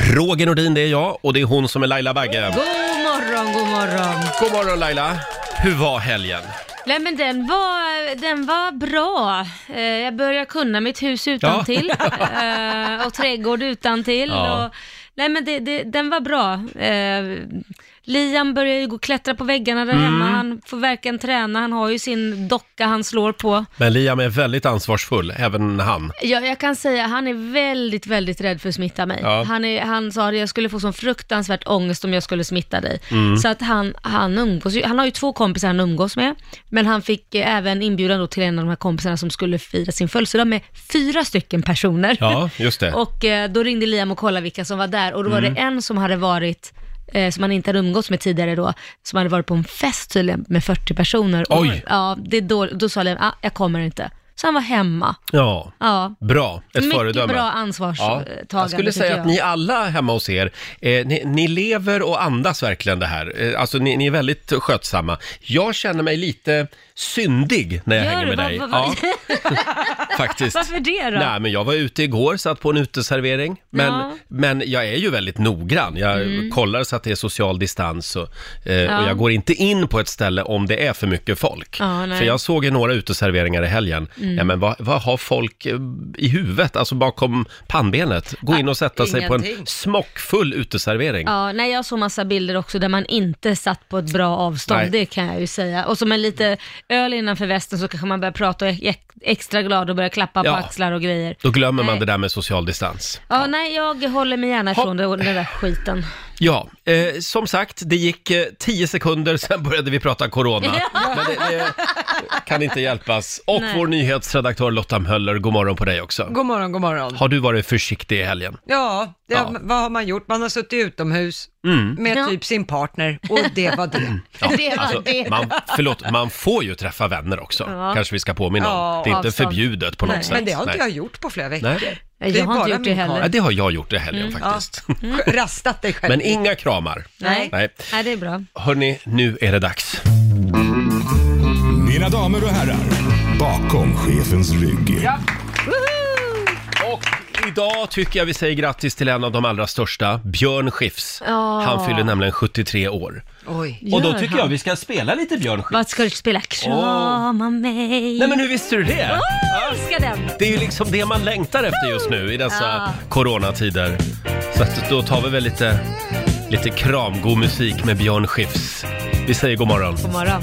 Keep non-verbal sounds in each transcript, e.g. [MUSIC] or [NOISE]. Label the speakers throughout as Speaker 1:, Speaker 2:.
Speaker 1: Roger Nordin, det är jag och det är hon som är Laila Bagge.
Speaker 2: God morgon, god morgon.
Speaker 1: God morgon Laila! Hur var helgen?
Speaker 2: Nej men den var, den var bra. Eh, Jag börjar kunna mitt hus utan [LAUGHS] till eh, och trädgård utan till.
Speaker 1: Ja.
Speaker 2: Och, nej men det, det, den var bra. Eh, Liam börjar ju gå och klättra på väggarna där hemma. Han får verkligen träna. Han har ju sin docka han slår på.
Speaker 1: Men Liam är väldigt ansvarsfull, även han.
Speaker 2: Ja, jag kan säga, han är väldigt, väldigt rädd för att smitta mig.
Speaker 1: Ja.
Speaker 2: Han, är, han sa att jag skulle få sån fruktansvärt ångest om jag skulle smitta dig.
Speaker 1: Mm.
Speaker 2: Så att han, han umgås ju, han har ju två kompisar han umgås med, men han fick eh, även inbjudan då till en av de här kompisarna som skulle fira sin födelsedag med fyra stycken personer.
Speaker 1: Ja, just det.
Speaker 2: [LAUGHS]
Speaker 1: Mm.
Speaker 2: Och eh, då ringde Liam och kollade vilka som var där och då var det en som hade varit eh, som han inte hade umgåtts med tidigare då, som hade varit på en fest tydligen med 40 personer.
Speaker 1: Oj.
Speaker 2: Och, ja, det är då, då sa Liam, ah, jag kommer inte. Så han var hemma.
Speaker 1: Ja,
Speaker 2: Ja.
Speaker 1: bra. Ett
Speaker 2: Mycket
Speaker 1: föredöme.
Speaker 2: bra
Speaker 1: Ja.
Speaker 2: ansvarstagande
Speaker 1: Jag skulle
Speaker 2: tycker
Speaker 1: säga
Speaker 2: jag.
Speaker 1: att ni alla hemma hos er, eh, ni, ni lever och andas verkligen det här. Eh, alltså ni, ni är väldigt skötsamma. Jag känner mig lite syndig när jag
Speaker 2: Gör
Speaker 1: hänger
Speaker 2: du?
Speaker 1: med
Speaker 2: Vad-
Speaker 1: dig.
Speaker 2: vad- vad-
Speaker 1: Ja, [LAUGHS] faktiskt.
Speaker 2: Varför det då?
Speaker 1: Nej, men jag var ute igår, satt på en uteservering. Men,
Speaker 2: Ja. Mm.
Speaker 1: men jag är ju väldigt noggrann. Jag kollar så att det är social distans och, eh, och
Speaker 2: Ja.
Speaker 1: jag går inte in på ett ställe om det är för mycket folk.
Speaker 2: Ja, nej. Mm.
Speaker 1: för jag såg ju några uteserveringar i helgen. Ja, men vad, vad har folk eh, i huvudet, alltså bakom pannbenet? Gå in och sätta sig på en
Speaker 3: ingenting.
Speaker 1: smockfull uteservering.
Speaker 2: [LAUGHS] Ja, nej, jag såg massa bilder också där man inte satt på ett bra avstånd,
Speaker 1: Nej.
Speaker 2: det kan jag ju säga. Och som en lite öl innanför västen så kanske man börjar prata och är ex- extra glad och börjar klappa
Speaker 1: Ja.
Speaker 2: på axlar och grejer.
Speaker 1: Då glömmer man
Speaker 2: Nej.
Speaker 1: det där med social distans.
Speaker 2: Ja, nej, jag håller mig gärna ifrån det, den där skiten.
Speaker 1: Ja, eh, som sagt, det gick eh, 10 sekunder, [LAUGHS] sen började vi prata corona. Men det, det kan inte hjälpas. Och
Speaker 2: Nej.
Speaker 1: vår nyhetsredaktör Lotta Möller, god morgon på dig också.
Speaker 3: God morgon, god morgon.
Speaker 1: Har du varit försiktig i helgen?
Speaker 3: Ja, det,
Speaker 1: Ja. Mm.
Speaker 3: vad har man gjort? Man har suttit utomhus med
Speaker 2: Ja.
Speaker 3: typ sin partner och det
Speaker 1: [LAUGHS]
Speaker 3: var det.
Speaker 2: det var
Speaker 1: Alltså,
Speaker 2: det.
Speaker 1: man, förlåt, man får ju träffa vänner också,
Speaker 2: Ja.
Speaker 1: kanske vi ska påminna om.
Speaker 3: Ja,
Speaker 1: det är inte
Speaker 2: avstånd.
Speaker 1: förbjudet på något
Speaker 2: Nej.
Speaker 1: sätt.
Speaker 3: Men det har inte
Speaker 1: Nej.
Speaker 3: jag gjort på flera veckor.
Speaker 1: Nej.
Speaker 2: Jag
Speaker 3: Det är
Speaker 2: har inte
Speaker 3: bara
Speaker 2: gjort det
Speaker 3: min
Speaker 2: heller.
Speaker 1: Ja,
Speaker 3: karl.
Speaker 1: det har jag gjort i helgen
Speaker 2: Mm,
Speaker 3: Ja.
Speaker 1: faktiskt.
Speaker 3: Rastat dig
Speaker 1: [LAUGHS]
Speaker 3: själv.
Speaker 1: Men inga kramar.
Speaker 2: Nej.
Speaker 1: Nej.
Speaker 2: nej, det är bra.
Speaker 1: Hörni, nu är det dags.
Speaker 4: Mina damer och herrar, bakom chefens rygg.
Speaker 1: Och idag tycker jag vi säger grattis till en av de allra största, Björn Skifs.
Speaker 2: Ja.
Speaker 1: Han fyller nämligen 73 år.
Speaker 3: Oj.
Speaker 1: Och då
Speaker 2: Gör
Speaker 1: tycker
Speaker 2: han?
Speaker 1: jag vi ska spela lite Björn Skifs.
Speaker 2: Vad ska du spela? Krama mig.
Speaker 1: Nej men hur visste du det?
Speaker 2: Åh, älskar den.
Speaker 1: Det är ju liksom det man längtar efter just nu i dessa
Speaker 2: Ja.
Speaker 1: coronatider. Så att då tar vi väl lite, lite kramgod musik med Björn Skifs. Vi säger god morgon.
Speaker 2: God morgon.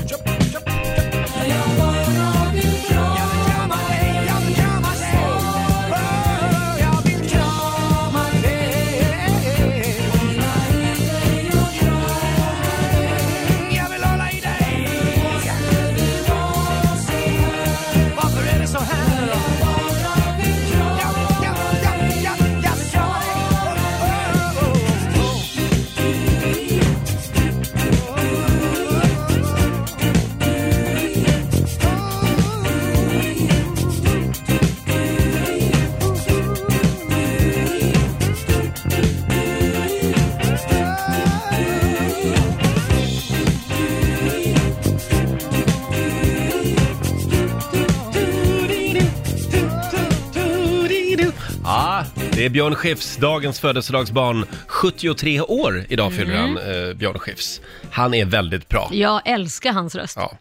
Speaker 1: Ja, det är Björn Skifs, dagens födelsedagsbarn. 73 år idag fyller
Speaker 2: Mm.
Speaker 1: han, eh, Björn Skifs. Han är väldigt bra.
Speaker 2: Jag älskar hans röst.
Speaker 1: Ja.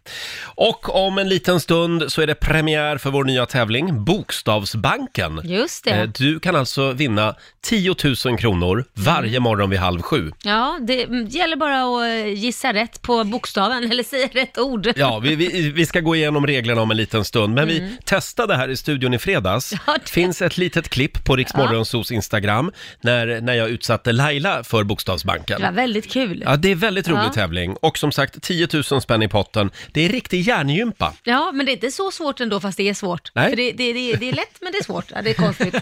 Speaker 1: Och om en liten stund så är det premiär för vår nya tävling, Bokstavsbanken.
Speaker 2: Just det.
Speaker 1: Eh, Du kan alltså vinna 10 000 kronor varje
Speaker 2: Mm.
Speaker 1: morgon vid halv sju.
Speaker 2: Ja, det mm, gäller bara att eh, gissa rätt på bokstaven [LAUGHS] eller säga rätt ord.
Speaker 1: Ja, vi, vi, vi ska gå igenom reglerna om en liten stund, men vi testade här i studion i fredags.
Speaker 2: Mm. Ja,
Speaker 1: det
Speaker 2: det-
Speaker 1: finns ett litet klipp på Riksmorgonsos Instagram när, när jag utsatte Laila för Bokstavsbanken.
Speaker 2: Det var väldigt kul.
Speaker 1: Ja, det är väldigt rolig
Speaker 2: Ja.
Speaker 1: tävling. Och som sagt, 10 000 spänn i potten. Det är riktig hjärngympa.
Speaker 2: Ja, men det är inte så svårt ändå fast det är svårt.
Speaker 1: Nej.
Speaker 2: För det, det, det, det är lätt men det är svårt. Ja, det
Speaker 1: [LAUGHS]
Speaker 2: är konstigt.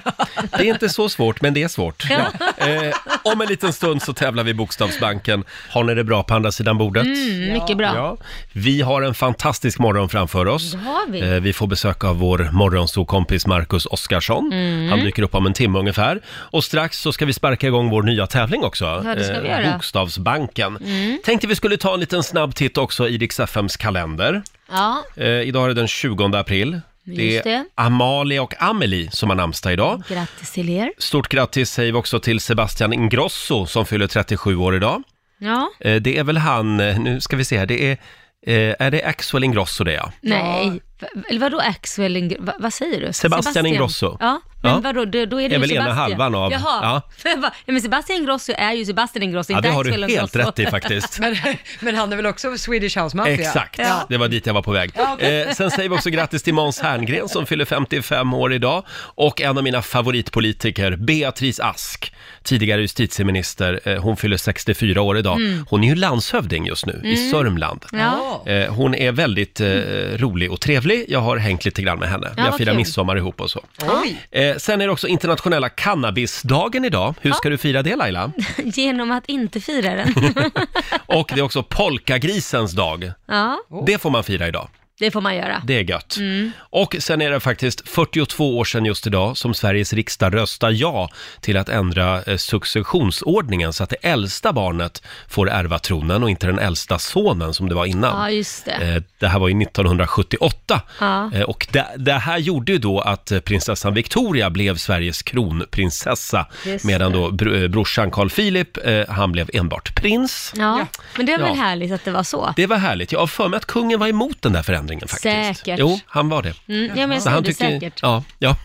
Speaker 1: Det är inte så svårt, men det är svårt. Ja. Eh, om en liten stund så tävlar vi i Bokstavsbanken. Har ni det bra på andra sidan bordet?
Speaker 2: Mm, mycket bra.
Speaker 1: Ja. Vi har en fantastisk morgon framför oss.
Speaker 2: Det har vi.
Speaker 1: Eh, Vi får besök av vår morgonsokompis Marcus Oskarsson.
Speaker 2: Mm.
Speaker 1: Han dyker upp om en timme ungefär. Och strax så ska vi sparka igång vår nya tävling också. Eh,
Speaker 2: Ja, det ska vi göra. Mm.
Speaker 1: Bokstavsbanken. Tänkte vi skulle ta en liten snabb titt också i Rix FMs kalender.
Speaker 2: Ja.
Speaker 1: Eh, idag är det den 20 april. Det är
Speaker 2: Just det.
Speaker 1: Amalia och Amelie som har namnsdag idag.
Speaker 2: Grattis till er.
Speaker 1: Stort grattis säger vi också till Sebastian Ingrosso som fyller 37 år idag.
Speaker 2: Ja.
Speaker 1: Eh, Det är väl han, eh, nu ska vi se här, det är, eh, är det Axel Ingrosso det ja?
Speaker 2: Nej, Va- eller vadå Axel Ingr- va, vad säger du?
Speaker 1: Sebastian Ingrosso.
Speaker 2: Ja, men
Speaker 1: Ja.
Speaker 2: vadå, då, då är det
Speaker 1: Är
Speaker 2: ju
Speaker 1: väl ena
Speaker 2: Sebastian.
Speaker 1: halvan av-
Speaker 2: Jaha,
Speaker 1: ja.
Speaker 2: [LAUGHS] ja. men Sebastian Ingrosso är ju Sebastian Ingrosso,
Speaker 1: Ja,
Speaker 2: inte
Speaker 1: det har
Speaker 2: Axel
Speaker 1: du helt
Speaker 2: Ingrosso.
Speaker 1: rätt i faktiskt.
Speaker 3: [LAUGHS] Men, men han är väl också Swedish House Mafia?
Speaker 1: Exakt,
Speaker 3: Ja.
Speaker 1: det var dit jag var på väg. Eh, sen säger vi också grattis till Måns Herngren som fyller 55 år idag och en av mina favoritpolitiker, Beatrice Ask, tidigare justitieminister. Eh, hon fyller 64 år idag.
Speaker 3: Mm.
Speaker 1: Hon är ju landshövding just nu i Sörmland.
Speaker 2: Ja.
Speaker 1: Eh, hon är väldigt eh, rolig och trevlig. Jag har hängt lite grann med henne. Vi har
Speaker 2: vad
Speaker 1: firat
Speaker 2: kul.
Speaker 1: midsommar ihop och så.
Speaker 3: Oj,
Speaker 1: Eh, sen är det också internationella cannabisdagen idag. Hur ska du fira det
Speaker 2: [LAUGHS]
Speaker 1: Laila?
Speaker 2: Genom att inte fira
Speaker 1: [LAUGHS]
Speaker 2: den.
Speaker 1: Och det är också polkagrisens dag.
Speaker 2: ja,
Speaker 1: Det får man fira idag.
Speaker 2: det får man göra.
Speaker 1: Det är gött.
Speaker 2: Mm.
Speaker 1: Och sen är det faktiskt 42 år sedan just idag som Sveriges riksdag röstar ja till att ändra eh, successionsordningen så att det äldsta barnet får ärva tronen och inte den äldsta sonen som det var innan.
Speaker 2: Ja, just det.
Speaker 1: Eh, Det här var ju 1978
Speaker 2: Ja.
Speaker 1: Eh, och det, det här gjorde ju då att eh, prinsessan Victoria blev Sveriges kronprinsessa
Speaker 2: Just
Speaker 1: medan då br- eh, brorsan Carl Philip, eh, han blev enbart prins.
Speaker 2: Ja, men det är väl
Speaker 1: Ja.
Speaker 2: härligt att det var så.
Speaker 1: Det var härligt. Jag har för mig att kungen var emot den där förändringen faktiskt.
Speaker 2: Säkert.
Speaker 1: Jo, han var det.
Speaker 2: Mm, ja, men jag
Speaker 1: Så
Speaker 2: säger
Speaker 1: han
Speaker 2: det
Speaker 1: tyckte,
Speaker 2: säkert.
Speaker 1: Ja, ja,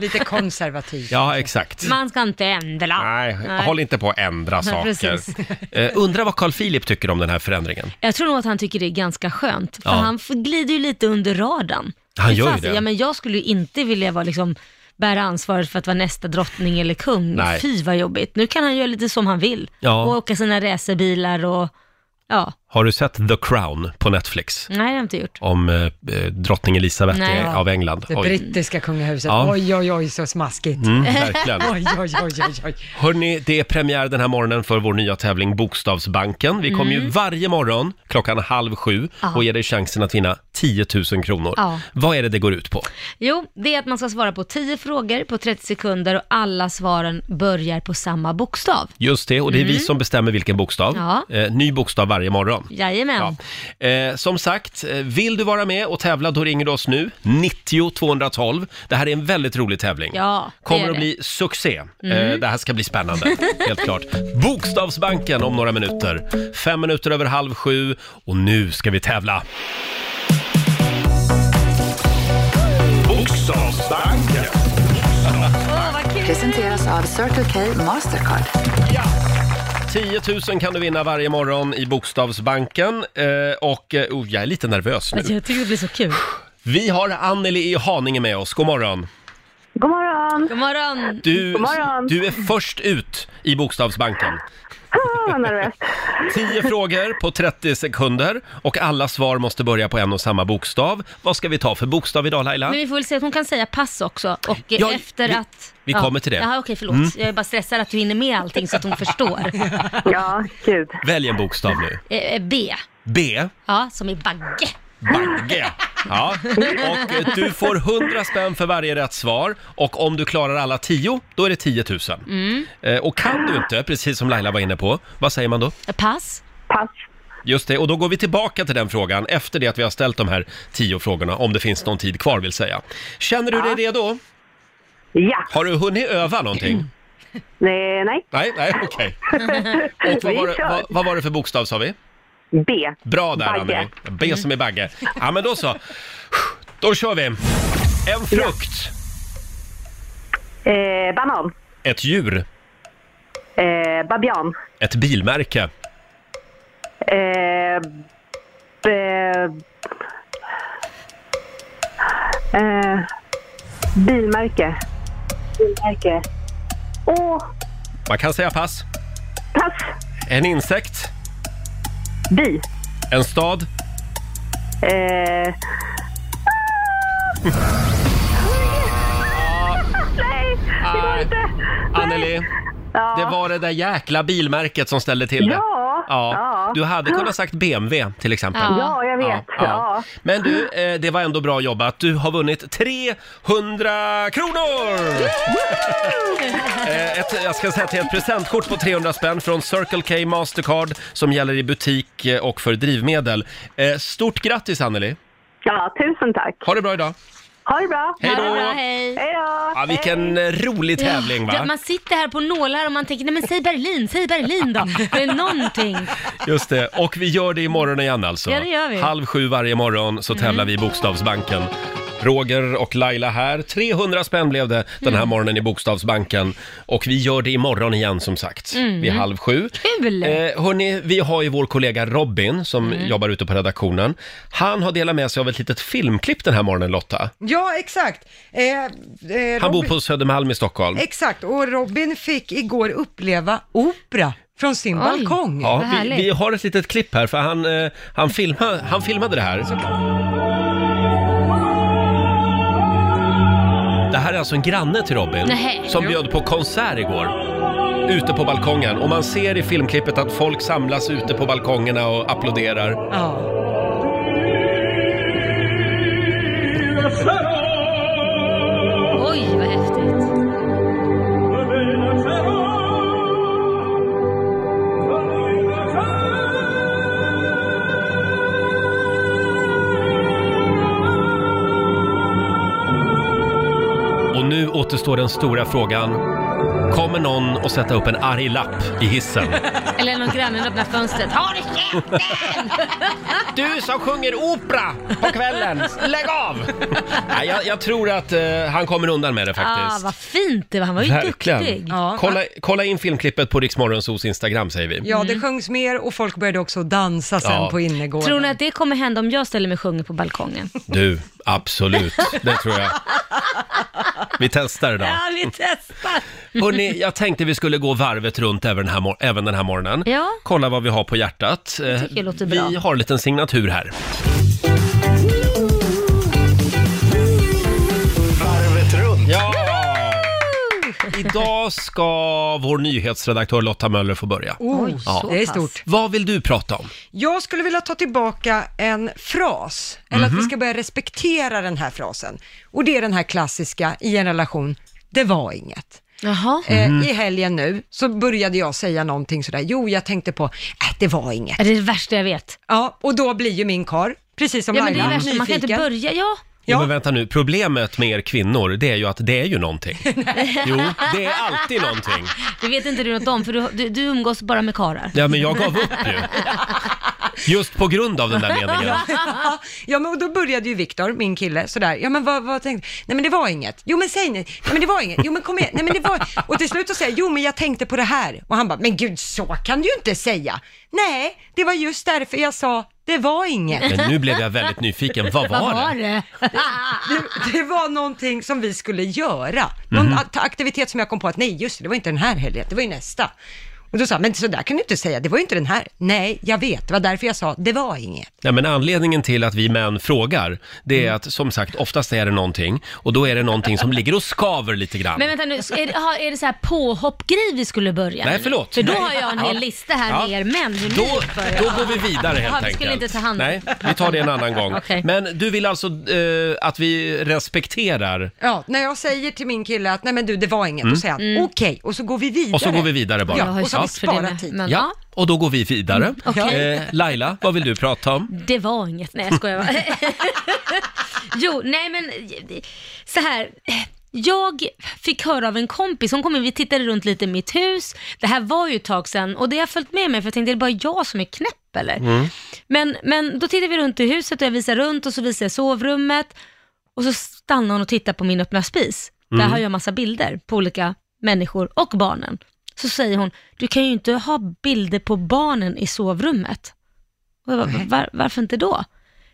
Speaker 3: lite konservativ.
Speaker 1: ja, exakt.
Speaker 2: Man ska inte ändra.
Speaker 1: Nej, håll inte på att
Speaker 2: [LAUGHS]
Speaker 1: ändra saker.
Speaker 2: precis.
Speaker 1: [LAUGHS] Eh, undrar vad Carl Philip tycker om den här förändringen.
Speaker 2: Jag tror nog att han tycker det är ganska skönt, för
Speaker 1: Ja.
Speaker 2: han f- glider ju lite under radarn.
Speaker 1: Han gör ju
Speaker 2: fasen,
Speaker 1: det.
Speaker 2: Ja, men jag skulle ju inte vilja vara liksom bära ansvaret för att vara nästa drottning eller kung.
Speaker 1: Nej.
Speaker 2: Fy vad jobbigt. Nu kan han göra lite som han vill.
Speaker 1: Ja.
Speaker 2: Och åka sina racerbilar och, ja,
Speaker 1: Har du sett The Crown på Netflix?
Speaker 2: nej det har jag inte gjort.
Speaker 1: Om eh, eh, drottning Elisabeth
Speaker 2: Mm. Nej.
Speaker 1: är- av England.
Speaker 3: Det brittiska kungahuset.
Speaker 1: Ja.
Speaker 3: Oj, oj, oj, så smaskigt.
Speaker 1: Mm,
Speaker 2: [LAUGHS]
Speaker 1: verkligen.
Speaker 3: Oj, oj, oj, oj, oj.
Speaker 1: Hörni, det är premiär den här morgonen för vår nya tävling Bokstavsbanken. Vi kommer ju varje morgon klockan halv sju
Speaker 2: Mm. Ja.
Speaker 1: och ger dig chansen att vinna 10 000 kronor.
Speaker 2: Ja.
Speaker 1: Vad är det det går ut på?
Speaker 2: Jo, det är att man ska svara på 10 frågor på 30 sekunder och alla svaren börjar på samma bokstav.
Speaker 1: Just det, och det är vi som bestämmer vilken bokstav.
Speaker 2: Mm. Ja.
Speaker 1: Eh, ny bokstav varje morgon.
Speaker 2: Jajamän.
Speaker 1: Ja. Eh, som sagt, eh, vill du vara med och tävla då ringer du oss nu, 90 212. Det här är en väldigt rolig tävling.
Speaker 2: Ja, det
Speaker 1: Kommer att
Speaker 2: är det. Mhm.
Speaker 1: bli succé. Eh, det här ska bli
Speaker 2: [LAUGHS]
Speaker 1: spännande, helt klart. Bokstavsbanken om några minuter. Fem minuter över halv sju och nu ska vi tävla.
Speaker 4: Bokstavsbanken.
Speaker 5: Presenteras av Circle K Mastercard.
Speaker 1: 10 000 kan du vinna varje morgon i Bokstavsbanken. Eh, och eh, oh, jag är lite nervös nu.
Speaker 2: Jag tycker det blir så kul.
Speaker 1: Vi har Anneli i Haninge med oss. God morgon.
Speaker 6: God morgon!
Speaker 2: God morgon.
Speaker 1: Du,
Speaker 6: God morgon.
Speaker 1: du är först ut i Bokstavsbanken.
Speaker 6: Ah, vad nervöst.
Speaker 1: 10 frågor på 30 sekunder och alla svar måste börja på en och samma bokstav. Vad ska vi ta för bokstav idag Laila?
Speaker 2: Men vi får väl se att hon kan säga pass också och eh,
Speaker 1: Ja,
Speaker 2: efter
Speaker 1: vi-
Speaker 2: att...
Speaker 1: vi kommer till det. Mm.
Speaker 2: Jaha, okej, förlåt. Jag är bara stressad att du hinner med allting så att
Speaker 1: [LAUGHS]
Speaker 2: hon förstår.
Speaker 6: Ja, gud.
Speaker 1: Välj en bokstav nu.
Speaker 2: Eh, eh, B.
Speaker 1: B.
Speaker 2: Ja, som i bagge.
Speaker 1: Bagge. Ja. Och eh, du får 100 spänn för varje rätt svar och om du klarar alla 10, då är det 10 000. Eh, Och kan du inte, precis som Laila var inne på, vad säger man då?
Speaker 2: Eh, Pass.
Speaker 6: Pass.
Speaker 1: Just det, och då går vi tillbaka till den frågan efter det att vi har ställt de här 10 frågorna, om det finns någon tid kvar vill säga. Känner du dig redo?
Speaker 6: Ja.
Speaker 1: Har du hunnit öva någonting?
Speaker 6: Nej, nej.
Speaker 1: Nej, nej, okej. Och vad var, det, vad, vad var det för bokstav sa vi?
Speaker 6: B.
Speaker 1: Bra där,
Speaker 6: Bagge.
Speaker 1: Anneli. B som är bagge. Ja, men då så. Då kör vi. En frukt,
Speaker 6: Eh, banan.
Speaker 1: ett djur,
Speaker 6: Eh, babian.
Speaker 1: ett bilmärke,
Speaker 6: Eh, b, eh, bilmärke. Bilmärke. Åh,
Speaker 1: man kan säga pass,
Speaker 6: pass.
Speaker 1: en insekt,
Speaker 6: Bi.
Speaker 1: en stad,
Speaker 6: Eh, ah. Nej, det går
Speaker 1: Nej.
Speaker 6: inte.
Speaker 1: Eh, Anneli.
Speaker 6: Ja.
Speaker 1: Det var det där jäkla bilmärket som ställde till det.
Speaker 6: Ja, ja.
Speaker 1: Du hade kunnat sagt BMW till exempel.
Speaker 2: Ja.
Speaker 6: Ja, jag vet. Ja,
Speaker 1: Men du, eh, det var ändå bra jobbat. Du har vunnit 300 kronor! Eh, ett, jag ska säga till ett presentkort på 300 spänn från Circle K Mastercard som gäller i butik eh, och för drivmedel. Eh, Stort grattis Anneli!
Speaker 6: Ja, tusen tack.
Speaker 1: Ha det bra idag.
Speaker 6: Ha det bra.
Speaker 1: Hej då!
Speaker 2: Ha det bra, hej.
Speaker 6: Hej då.
Speaker 1: Ja, vilken eh, rolig tävling
Speaker 2: Ja,
Speaker 1: va?
Speaker 2: man sitter här på nålar och man tänker, nej men säg Berlin, säg
Speaker 1: [LAUGHS]
Speaker 2: Berlin då. Det är någonting.
Speaker 1: Just det, och vi gör det imorgon igen alltså.
Speaker 2: Ja, det gör vi. Mm.
Speaker 1: Halv sju varje morgon så tävlar vi i Bokstavsbanken. Roger och Laila här. 300 spänn blev det den
Speaker 2: Mm.
Speaker 1: här morgonen i Bokstavsbanken. Och vi gör det imorgon igen som sagt, vid halv sju.
Speaker 2: Mm. Kul! Mm.
Speaker 1: Eh, hörni, vi har ju vår kollega Robin som jobbar ute på redaktionen. Han har delat med sig av ett litet filmklipp den här morgonen Lotta.
Speaker 3: Ja, exakt. Eh, eh,
Speaker 1: Han bor
Speaker 3: Robin-
Speaker 1: på Södermalm i Stockholm.
Speaker 3: Exakt, och Robin fick igår uppleva opera från sin
Speaker 2: Oj.
Speaker 3: balkong.
Speaker 1: Ja,
Speaker 2: Vad
Speaker 1: vi,
Speaker 2: härligt.
Speaker 1: vi har ett litet klipp här för han, eh, han, filma, han filmade det här. Det här är alltså en granne till Robin
Speaker 2: Nähä.
Speaker 1: som bjöd på konsert igår. Ute på balkongen och man ser i filmklippet att folk samlas ute på balkongerna och applåderar.
Speaker 3: Ja.
Speaker 2: Oj, vad häftigt.
Speaker 1: Och nu återstår den stora frågan. Kommer någon att sätta upp en arg lapp i
Speaker 2: [LAUGHS]
Speaker 1: hissen?
Speaker 2: Eller någon granne öppnar fönstret. Har du
Speaker 1: [LAUGHS]
Speaker 2: käften!
Speaker 1: Du som sjunger opera på kvällen, lägg
Speaker 2: [LAUGHS]
Speaker 1: av! Nej, jag, jag tror att eh, han kommer undan med det faktiskt.
Speaker 2: Ah, vad fint det var. Han var ju duktig.
Speaker 3: Ja.
Speaker 1: Kolla, kolla in filmklippet på Riksmorgonsos Instagram säger vi.
Speaker 3: ja, det sjöngs mer och folk började också dansa sen
Speaker 1: Ja.
Speaker 3: på
Speaker 2: Mm.
Speaker 3: innergården.
Speaker 2: Tror ni att det kommer hända om jag ställer mig och sjunger på balkongen? [LAUGHS]
Speaker 1: Du, absolut. Det tror jag. Vi testar idag.
Speaker 2: Ja, vi testar.
Speaker 1: Hörrni, jag tänkte vi skulle gå varvet runt även den här, mor- även den här morgonen.
Speaker 2: Ja.
Speaker 1: Kolla vad vi har på hjärtat. Eh,
Speaker 2: tycker jag låter
Speaker 1: vi
Speaker 2: bra.
Speaker 1: har en liten signatur här.
Speaker 7: Varvet runt.
Speaker 1: Ja! Idag ska vår nyhetsredaktör Lotta Möller få börja.
Speaker 3: Oh,
Speaker 2: Oj, så
Speaker 3: det är
Speaker 2: pass.
Speaker 3: stort.
Speaker 1: Vad vill du prata om?
Speaker 3: Jag skulle vilja ta tillbaka en fras, eller att vi
Speaker 2: Mhm.
Speaker 3: ska börja respektera den här frasen. Och det är den här klassiska i en relation, det var inget.
Speaker 2: Jaha.
Speaker 3: Eh, I helgen nu så började jag säga någonting sådär, jo jag tänkte på, äh, det var inget.
Speaker 2: Det är det värsta jag vet.
Speaker 3: Ja, och då blir ju min kar precis som
Speaker 2: Ja, men det
Speaker 3: Laila,
Speaker 2: är det värsta. Man kan inte
Speaker 3: nyfiken.
Speaker 2: börja. Ja,
Speaker 1: Ja.
Speaker 3: Ja.
Speaker 1: men vänta nu, problemet med er kvinnor, det är ju att det är ju
Speaker 2: [LAUGHS]
Speaker 1: någonting. Jo, det är alltid någonting.
Speaker 2: det vet inte du något om, för du, du, du umgås bara med karar.
Speaker 1: Ja, men jag gav upp ju. Just på grund av den där meningen.
Speaker 3: [LAUGHS] ja, men och då började ju Viktor, min kille, sådär, ja men vad, vad tänkte Nej men det var inget. Jo men säg nej. Nej men det var inget. Jo men kom igen. Nej men det var... Och till slut så säger jag, jo men jag tänkte på det här. Och han bara, men gud så kan du ju inte säga. Nej, det var just därför jag sa, det var inget.
Speaker 1: Men nu blev jag väldigt nyfiken. Vad
Speaker 2: Vad
Speaker 1: var
Speaker 2: var
Speaker 1: det?
Speaker 2: det?
Speaker 3: Det, det var någonting som vi skulle göra. Någon a- aktivitet som jag kom på att, nej just det, det var inte den här helgen, det var ju nästa. Och då sa han, men sådär kan du inte säga, det var ju inte den här. Nej, jag vet, det var därför jag sa, det var inget.
Speaker 1: Nej, men anledningen till att vi män frågar, det
Speaker 2: Mm.
Speaker 1: är att som sagt, oftast är det någonting och då är det någonting som ligger och skaver lite grann.
Speaker 2: Men vänta nu, så är det, har- är det så här påhoppgrej vi skulle börja
Speaker 1: Nej,
Speaker 2: med?
Speaker 1: förlåt.
Speaker 2: För då
Speaker 1: Nej.
Speaker 2: har jag en hel
Speaker 1: Ja.
Speaker 2: lista här
Speaker 1: Ja.
Speaker 2: med er män, hur
Speaker 1: Då,
Speaker 2: ni uppför
Speaker 1: då
Speaker 2: er.
Speaker 1: går vi vidare helt
Speaker 2: Jaha, vi
Speaker 1: enkelt.
Speaker 2: skulle inte ta hand-
Speaker 1: Nej, vi tar det en annan gång.
Speaker 2: [LAUGHS] Okej.
Speaker 1: Men du vill alltså eh, att vi respekterar
Speaker 3: Ja, när jag säger till min kille att nej men du, det var inget, då säger han okej, och så går vi vidare.
Speaker 1: Mm. och så går vi vidare bara.
Speaker 3: Ja,
Speaker 2: Jag har ju
Speaker 3: och så har vi
Speaker 2: svårt för det
Speaker 3: sparat
Speaker 2: med,
Speaker 3: tid.
Speaker 2: Men,
Speaker 1: Ja, och då går vi vidare.
Speaker 2: Mm, okej.
Speaker 1: eh, Laila, vad vill du prata om?
Speaker 2: Det var inget. Nej, jag skojar bara. jo, nej men så här. Jag fick höra av en kompis, hon kom in, vi tittade runt lite i mitt hus. Det här var ju ett tag sedan och det har följt med mig för jag tänkte, är det bara jag som är knäpp eller? Men, men då tittade vi runt i huset och jag visar runt och så visar jag sovrummet och så stannar hon och tittar på min öppna spis.
Speaker 1: Mm.
Speaker 2: Där har jag massa bilder på olika människor och barnen. Så säger hon, du kan ju inte ha bilder på barnen i sovrummet. Och jag bara, var, varför inte då?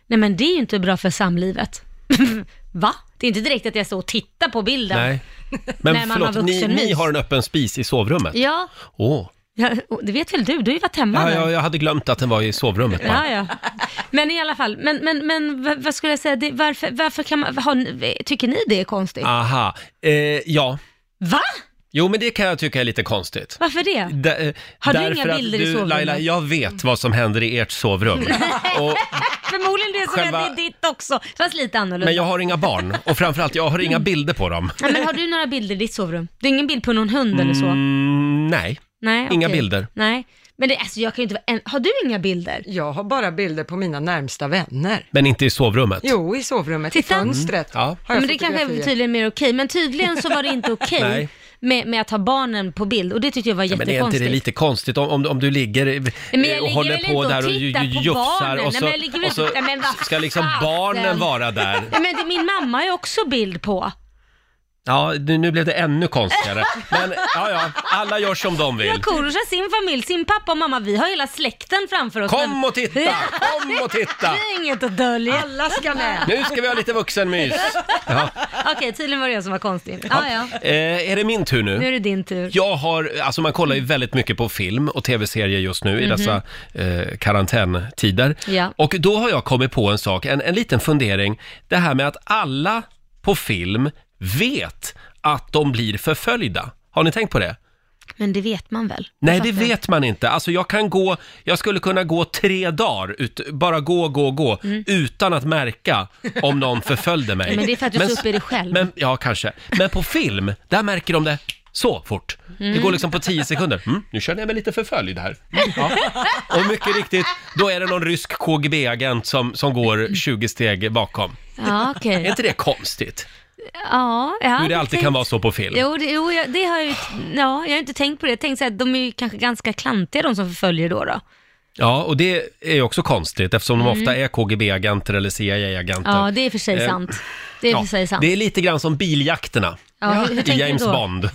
Speaker 2: Nej men det är ju inte bra för samlivet. [LAUGHS] Va? Det är inte direkt att jag står och tittar på bilden. [LAUGHS]
Speaker 1: Nej. Men
Speaker 2: Nej, man har
Speaker 1: förlåt, ni,
Speaker 2: vuxenmys.
Speaker 1: ni har en öppen spis i sovrummet?
Speaker 2: Ja,
Speaker 1: Åh.
Speaker 2: ja, och det vet väl du, du har ju varit hemma
Speaker 1: Ja,
Speaker 2: nu.
Speaker 1: ja, jag hade glömt att den var i sovrummet bara.
Speaker 2: Ja, ja. Men i alla fall, men, men, men vad- vad skulle jag säga, det, varför, varför kan man, har, ni- tycker ni det är konstigt?
Speaker 1: Aha. Eh, ja.
Speaker 2: Va?
Speaker 1: Jo, men det kan jag tycka är lite konstigt.
Speaker 2: Varför det?
Speaker 1: Da- eh,
Speaker 2: Har du
Speaker 1: därför
Speaker 2: inga
Speaker 1: att
Speaker 2: bilder i sovrummet?
Speaker 1: Laila, jag vet vad som händer i ert sovrum.
Speaker 2: [LAUGHS]
Speaker 1: Och,
Speaker 2: Förmodligen det som
Speaker 1: Själva-
Speaker 2: händer i ditt också, fast lite annorlunda.
Speaker 1: men
Speaker 2: Men,
Speaker 1: jag har inga barn och framförallt, jag har inga bilder på dem.
Speaker 2: ja, men har du några bilder i ditt sovrum? Det är ingen bild på någon hund eller så?
Speaker 1: Mm, nej.
Speaker 2: Nej,
Speaker 1: Inga
Speaker 2: okej.
Speaker 1: bilder.
Speaker 2: Nej, Men det, alltså jag kan ju inte vara en... Har du inga bilder?
Speaker 3: Jag har bara bilder på mina närmsta vänner.
Speaker 1: Men inte i sovrummet.
Speaker 3: Jo, i sovrummet,
Speaker 2: Titta.
Speaker 3: i fönstret
Speaker 1: Mm. Ja.
Speaker 3: har jag
Speaker 2: men det kanske är
Speaker 3: fotografier.
Speaker 2: tydligen mer okej, men tydligen så var
Speaker 1: [LAUGHS]
Speaker 2: det inte
Speaker 1: Nej.
Speaker 2: okej med, med att ha barnen på bild och det tyckte jag var
Speaker 1: Ja, men är inte
Speaker 2: jättekonstigt.
Speaker 1: det lite konstigt om, om, om du ligger eh,
Speaker 2: Men jag
Speaker 1: och
Speaker 2: ligger
Speaker 1: håller
Speaker 2: väl
Speaker 1: på
Speaker 2: inte och
Speaker 1: där och ju-
Speaker 2: tittar
Speaker 1: ju-
Speaker 2: på
Speaker 1: jufsar
Speaker 2: barnen.
Speaker 1: och så,
Speaker 2: Nej, men jag ligger väl
Speaker 1: och så
Speaker 2: inte- Nej, men vad
Speaker 1: ska liksom
Speaker 2: fasen.
Speaker 1: barnen vara där?
Speaker 2: Nej, men det, min mamma är också bild på.
Speaker 1: Ja, nu, nu blev det ännu konstigare. Men ja, ja, alla gör som de
Speaker 2: Ja,
Speaker 1: vill.
Speaker 2: Korosh har sin familj, sin pappa och mamma. Vi har hela släkten framför oss.
Speaker 1: Kom
Speaker 2: Men-
Speaker 1: och titta! Kom och titta!
Speaker 2: [LAUGHS] Det är inget att dölja.
Speaker 3: Alla ska
Speaker 1: [LAUGHS]
Speaker 3: med.
Speaker 1: Nu ska vi ha lite vuxenmys. Ja.
Speaker 2: Okej, tydligen var det jag som var konstig. Ja, ja.
Speaker 1: Eh, är det min tur
Speaker 2: Nu är
Speaker 1: nu?
Speaker 2: det din tur.
Speaker 1: Jag har, alltså man kollar ju väldigt mycket på film och tv-serier just nu i dessa eh, karantäntider.
Speaker 2: Mhm. Ja.
Speaker 1: Och då har jag kommit på en sak, en, en liten fundering. Det här med att alla på film vet att de blir förföljda. Har ni tänkt på det?
Speaker 2: Men det vet man väl?
Speaker 1: Nej,
Speaker 2: Jag
Speaker 1: det
Speaker 2: fattar.
Speaker 1: vet man inte. Alltså jag kan gå, jag skulle kunna gå tre dagar, ut, bara gå, gå, gå, utan att märka om någon förföljde mig.
Speaker 2: Mm. Men det är för att du är så uppe i dig själv.
Speaker 1: Men, ja, kanske. Men på film, där märker de det så fort. Det går liksom på tio sekunder. Mm, nu känner jag mig lite förföljd här. Mm, ja. Och mycket riktigt, då är det någon rysk KGB-agent som, som går 20 steg bakom.
Speaker 2: Ja, okej.
Speaker 1: Är inte det konstigt?
Speaker 2: Ja, jag
Speaker 1: Hur
Speaker 2: hade
Speaker 1: det alltid
Speaker 2: tänkt-
Speaker 1: kan vara så på film.
Speaker 2: Jo, det, jo jag, det har jag ju... Ja, jag har inte tänkt på det. Jag tänkte att de är ju kanske ganska klantiga de som förföljer då. då.
Speaker 1: Ja, och det är ju också konstigt eftersom de ofta är KGB-agenter eller CIA-agenter.
Speaker 2: Mm. Ja, det är i och för sig
Speaker 1: Eh,
Speaker 2: sant. Det är i och
Speaker 1: Ja,
Speaker 2: för sig sant.
Speaker 1: det är lite grann som biljakterna
Speaker 2: Ja, hur, hur
Speaker 1: i
Speaker 2: tänker
Speaker 1: James
Speaker 2: du då?
Speaker 1: Bond.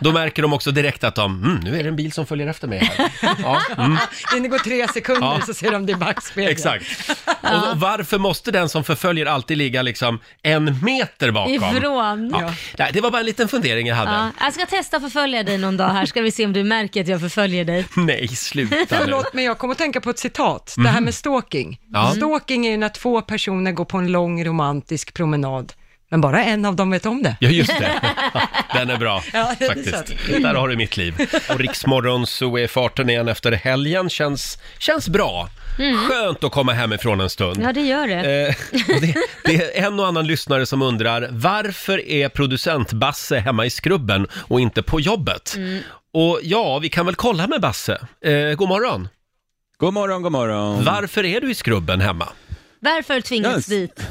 Speaker 1: Då märker de också direkt att de, mm, nu är det en bil som följer efter mig
Speaker 2: [LAUGHS]
Speaker 1: här. Ja, mm,
Speaker 3: Det går tre sekunder
Speaker 1: Ja.
Speaker 3: så ser de det i
Speaker 1: [LAUGHS]
Speaker 3: backspegeln.
Speaker 1: exakt. Och, och varför måste den som förföljer alltid ligga liksom en meter bakom?
Speaker 2: Ifrån. Ja.
Speaker 1: Ja. Nej, det var bara en liten fundering jag hade.
Speaker 2: Jag ska testa att förfölja dig någon dag här, ska vi se om du märker att jag förföljer dig.
Speaker 1: Nej, sluta nu.
Speaker 3: [LAUGHS] Förlåt, men jag kommer att tänka på ett citat, det här med stalking.
Speaker 1: Mhm. Ja. Mm.
Speaker 3: Stalking är ju när två personer går på en lång romantisk promenad, men bara en av dem vet om det.
Speaker 1: Ja, just det. Den är bra,
Speaker 3: [LAUGHS] Ja, det är
Speaker 1: faktiskt. Där har du mitt liv. Och Riksmorgon så är farten igen efter helgen. Känns, känns bra.
Speaker 3: Mm.
Speaker 1: Skönt att komma hemifrån en stund.
Speaker 2: Ja, det gör det.
Speaker 1: Eh, och det, det är en och annan lyssnare som undrar varför är producent Basse hemma i skrubben och inte på jobbet?
Speaker 2: Mm.
Speaker 1: Och ja, vi kan väl kolla med Basse. Eh, god morgon.
Speaker 7: God morgon, god morgon.
Speaker 1: Varför är du i skrubben hemma?
Speaker 2: Varför tvingas
Speaker 7: Yes.
Speaker 2: dit?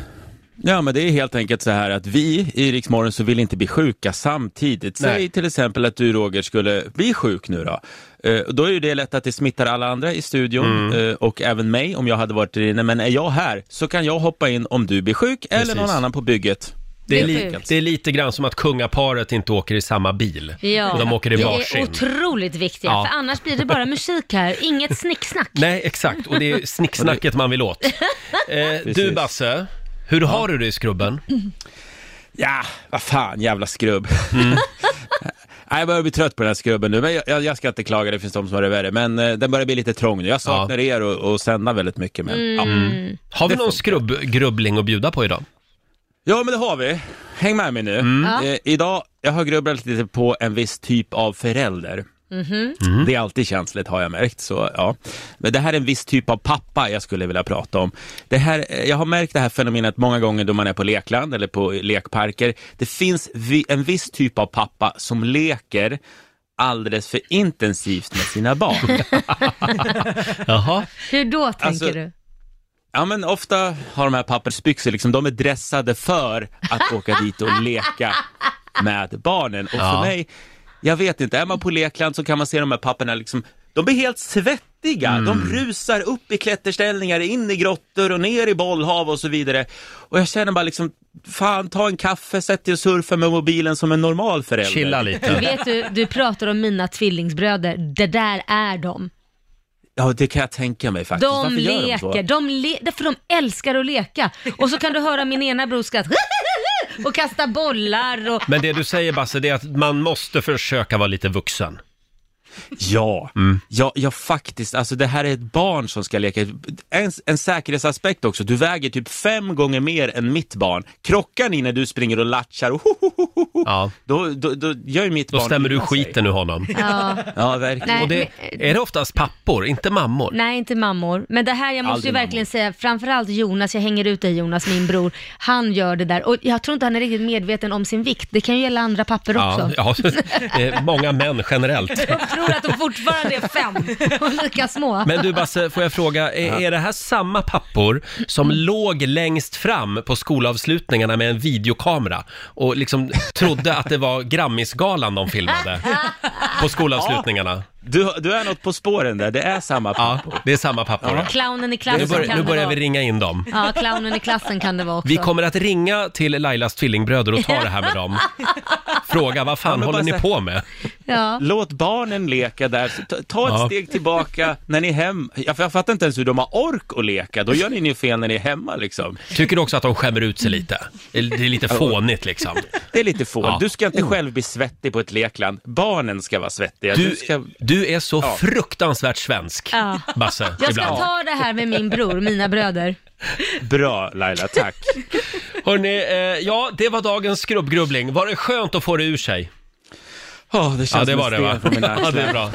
Speaker 7: Ja, men det är helt enkelt så här att vi i Rix Morgon så vill inte bli sjuka samtidigt.
Speaker 1: Nej.
Speaker 7: Säg till exempel att du Roger skulle bli sjuk nu då. Eh, och då är ju det lätt att det smittar alla andra i studion
Speaker 1: Mm.
Speaker 7: eh, och även mig om jag hade varit där inne. Men är jag här så kan jag hoppa in om du blir sjuk eller
Speaker 1: Precis.
Speaker 7: någon annan på bygget.
Speaker 1: Det är,
Speaker 2: Det är
Speaker 1: li-
Speaker 2: sjukt.
Speaker 1: det är lite grann som att kungaparet inte åker i samma bil.
Speaker 2: Ja,
Speaker 1: Och de åker i
Speaker 2: det är
Speaker 1: varsin.
Speaker 2: otroligt viktiga,
Speaker 1: Ja.
Speaker 2: för annars blir det bara musik här, inget snicksnack.
Speaker 1: Nej, exakt. Och det är snicksnacket man vill
Speaker 2: [LAUGHS]
Speaker 1: åt. Eh, du
Speaker 7: Precis.
Speaker 1: Basse, hur har du det i skrubben?
Speaker 7: Ja, vad fan jävla skrubb. [LAUGHS] Nej, jag börjar bli trött på den här skrubben nu, men jag- jag, jag ska inte klaga, det finns de som har det värre. Men eh, den börjar bli lite trång nu. Jag saknar er och, och sända väldigt mycket, men ja.
Speaker 1: Har vi
Speaker 7: Det
Speaker 1: någon
Speaker 7: funkar.
Speaker 1: skrubb-grubbling att bjuda på idag?
Speaker 7: Ja, men det har vi. Häng med mig nu.
Speaker 2: Ja.
Speaker 7: Eh, idag, jag har grubblat lite på en viss typ av förälder. Det är alltid känsligt har jag märkt. Så, ja. Men det här är en viss typ av pappa jag skulle vilja prata om. Det här, eh, jag har märkt det här fenomenet många gånger då man är på lekland eller på lekparker. Det finns vi, en viss typ av pappa som leker alldeles för intensivt med sina barn.
Speaker 1: Jaha.
Speaker 2: Hur då tänker
Speaker 7: Alltså,
Speaker 2: du?
Speaker 7: Ja men ofta har de här pappersbyxor liksom, de är dressade för
Speaker 2: [LAUGHS]
Speaker 7: att åka dit och leka med barnen. Och
Speaker 1: Ja.
Speaker 7: för mig, jag vet inte, är man på lekland så kan man se de här papperna liksom, de blir helt svettiga,
Speaker 1: Mm.
Speaker 7: de rusar upp i klätterställningar, in i grottor och ner i bollhav och så vidare. Och jag känner bara liksom, fan ta en kaffe, sätt dig och surfa med mobilen som en normal förälder.
Speaker 1: Chilla lite.
Speaker 2: Vet du, du pratar om mina tvillingsbröder, det där är de.
Speaker 7: Ja det kan jag tänka mig
Speaker 1: Alltså,
Speaker 7: faktiskt.
Speaker 2: De
Speaker 7: Varför gör de
Speaker 2: leker,
Speaker 7: så?
Speaker 2: de le- därför de älskar att leka. Och så kan du höra min ena bror skratta [LAUGHS] och kasta bollar och...
Speaker 1: Men det du säger Basse, det är att man måste försöka vara lite vuxen.
Speaker 7: Ja,
Speaker 1: Mm.
Speaker 7: ja, ja faktiskt. Alltså det här är ett barn som ska leka. En, en säkerhetsaspekt också. Du väger typ fem gånger mer än mitt barn. Krockar ni när du springer och latchar och hohohoho,
Speaker 1: Ja.
Speaker 7: då, då, då gör ju mitt
Speaker 1: Då
Speaker 7: barn
Speaker 1: stämmer du
Speaker 7: illa sig.
Speaker 1: skiten ur honom.
Speaker 2: Ja.
Speaker 7: Ja, verkligen.
Speaker 2: Nej,
Speaker 1: Och det,
Speaker 2: men-
Speaker 1: är det oftast pappor, inte mammor?
Speaker 2: Nej, inte mammor. Men det här, jag måste ju
Speaker 7: Aldrig
Speaker 2: verkligen säga, framförallt Jonas, jag hänger ut dig Jonas, min bror, han gör det där. Och jag tror inte han är
Speaker 1: [LAUGHS]
Speaker 2: riktigt medveten om sin vikt. Det kan ju gälla andra papper också.
Speaker 1: Ja, ja. Det är många män generellt.
Speaker 2: tror att de fortfarande är fem och lika små.
Speaker 1: Men du Basse, får jag fråga, är, är det här samma pappor som
Speaker 7: Mm.
Speaker 1: låg längst fram på skolavslutningarna med en videokamera och liksom trodde att det var Grammisgalan de filmade på skolavslutningarna?
Speaker 7: Du, du är något på spåren där, det är samma
Speaker 1: Ja,
Speaker 7: pappor.
Speaker 1: det är samma pappor.
Speaker 2: Clownen i
Speaker 1: Nu,
Speaker 2: klassen
Speaker 1: bör,
Speaker 2: kan
Speaker 1: nu
Speaker 2: det
Speaker 1: börjar
Speaker 2: vara.
Speaker 1: vi ringa in dem.
Speaker 2: Ja, clownen i klassen kan det vara också.
Speaker 1: Vi kommer att ringa till Lailas tvillingbröder och ta det här med
Speaker 2: [LAUGHS]
Speaker 1: dem. Fråga, vad fan
Speaker 7: men
Speaker 1: håller ni
Speaker 7: Basse-
Speaker 1: på med?
Speaker 2: ja.
Speaker 7: Låt barnen leka där, Så ta, ta ett
Speaker 1: Ja.
Speaker 7: steg tillbaka när ni är hem. Jag, jag fattar inte ens hur de har ork att leka, då gör ni ju fel när ni är hemma liksom.
Speaker 1: Tycker du också att de skämmer ut
Speaker 2: Mm.
Speaker 1: sig lite? Det är lite fånigt liksom.
Speaker 7: Det är lite fånigt.
Speaker 1: Ja. Mm.
Speaker 7: Du ska inte själv bli svettig på ett lekland, barnen ska vara svettiga. Du,
Speaker 1: Du,
Speaker 7: ska...
Speaker 1: du är så
Speaker 7: Ja.
Speaker 1: fruktansvärt svensk,
Speaker 2: Ja.
Speaker 1: Basse,
Speaker 2: Jag ska
Speaker 1: ibland.
Speaker 2: ta det här med min bror, mina bröder.
Speaker 7: Bra Laila,
Speaker 8: [LAUGHS]
Speaker 7: tack.
Speaker 1: Hörrni, eh, ja, det var dagens skrubbgrubbling. Var det skönt att få det ur sig?
Speaker 7: Oh, det känns
Speaker 1: Ja, det
Speaker 7: som
Speaker 1: var
Speaker 7: en
Speaker 1: det
Speaker 7: sten
Speaker 1: va?
Speaker 7: från
Speaker 1: [LAUGHS]
Speaker 7: min
Speaker 1: Ja,
Speaker 7: axel.
Speaker 1: det är bra.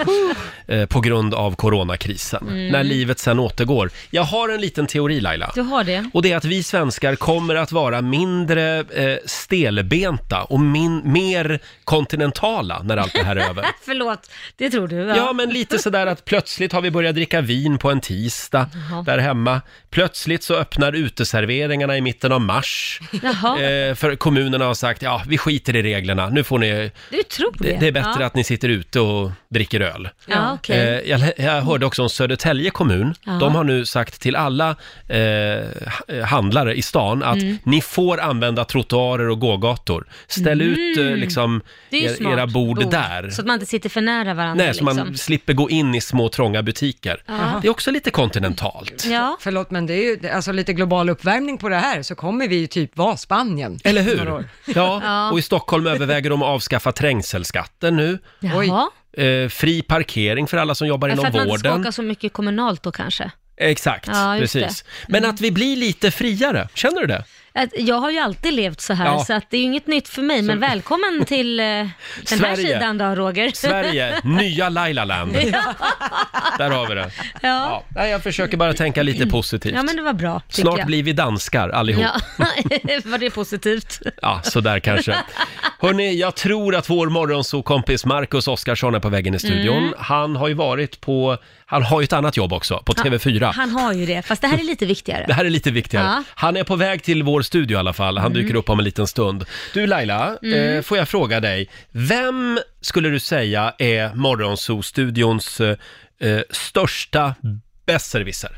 Speaker 1: Eh, På grund av coronakrisen,
Speaker 2: Mm.
Speaker 1: när livet sen återgår. Jag har en liten teori Laila.
Speaker 2: Du har det?
Speaker 1: Och det är att vi svenskar kommer att vara mindre eh, stelbenta och min, mer kontinentala när allt det här
Speaker 2: [LAUGHS]
Speaker 1: är över.
Speaker 2: Förlåt, det tror du?
Speaker 1: Ja, men lite sådär att plötsligt har vi börjat dricka vin på en tisdag
Speaker 2: Jaha.
Speaker 1: där hemma. Plötsligt så öppnar uteserveringarna i mitten av mars.
Speaker 2: Jaha,
Speaker 1: Eh, för kommunerna har sagt, ja, vi skiter i reglerna. Nu får ni...
Speaker 2: du tror det?
Speaker 1: Det, det är bättre
Speaker 2: ja.
Speaker 1: att ni sitter ute och dricker öl.
Speaker 2: Ja, okej.
Speaker 1: Eh, jag, jag hörde också om Södertälje kommun.
Speaker 2: Ja.
Speaker 1: De har nu sagt till alla eh, ha- handlare i stan att
Speaker 2: Mm.
Speaker 1: ni får använda trottoarer och gågator. Ställ ut eh, liksom,
Speaker 2: Mm. Det är ju
Speaker 1: er,
Speaker 2: smart.
Speaker 1: era bord, där.
Speaker 2: Så att man inte sitter för nära varandra.
Speaker 1: Nej, så
Speaker 2: liksom.
Speaker 1: man slipper gå in i små trånga butiker. Det är också lite kontinentalt.
Speaker 2: Ja.
Speaker 3: Förlåt, men det är ju alltså, lite global uppvärmning på det här, så kommer vi ju typ vara Spanien.
Speaker 1: Eller
Speaker 3: Några år.
Speaker 1: hur? Ja,
Speaker 2: [LAUGHS] Ja.
Speaker 1: och i Stockholm överväger de att avskaffa trängselskatten nu.
Speaker 2: Jaha.
Speaker 1: Eh, fri parkering för alla som jobbar
Speaker 2: För
Speaker 1: inom
Speaker 2: att man inte ska
Speaker 1: vården.
Speaker 2: åka så mycket kommunalt då kanske.
Speaker 1: Exakt,
Speaker 2: Ja, just Mm.
Speaker 1: precis. Men att vi blir lite friare, känner du det?
Speaker 2: Att jag har ju alltid levt så här,
Speaker 1: Ja.
Speaker 2: så att det är ju inget nytt för mig.
Speaker 1: [LAUGHS]
Speaker 2: Men välkommen till eh, den
Speaker 1: Sverige.
Speaker 2: här sidan då, Roger.
Speaker 1: Sverige, nya Lailaland. Där har vi det.
Speaker 2: [LAUGHS] Ja.
Speaker 1: Ja. Nej, jag försöker bara tänka lite positivt.
Speaker 2: ja, men det var bra. tycker
Speaker 1: Snart
Speaker 2: jag.
Speaker 1: blir vi danskar allihop. Ja,
Speaker 2: Ja, [LAUGHS] var det positivt?
Speaker 1: sådär kanske. Hörni, jag tror att vår morgonsokompis Marcus Oskarsson är på vägen i studion.
Speaker 2: Mm.
Speaker 1: Han har ju varit på, han har ju ett annat jobb också, på TV4.
Speaker 2: Han har ju det, fast det här är lite viktigare.
Speaker 1: Det här är lite viktigare.
Speaker 2: Ja.
Speaker 1: Han är på väg till vår studio i alla fall. Han dyker upp om en liten stund. Du Laila, eh, får jag fråga dig. Vem skulle du säga är Morgonzoo-studions eh, eh, största besserwisser?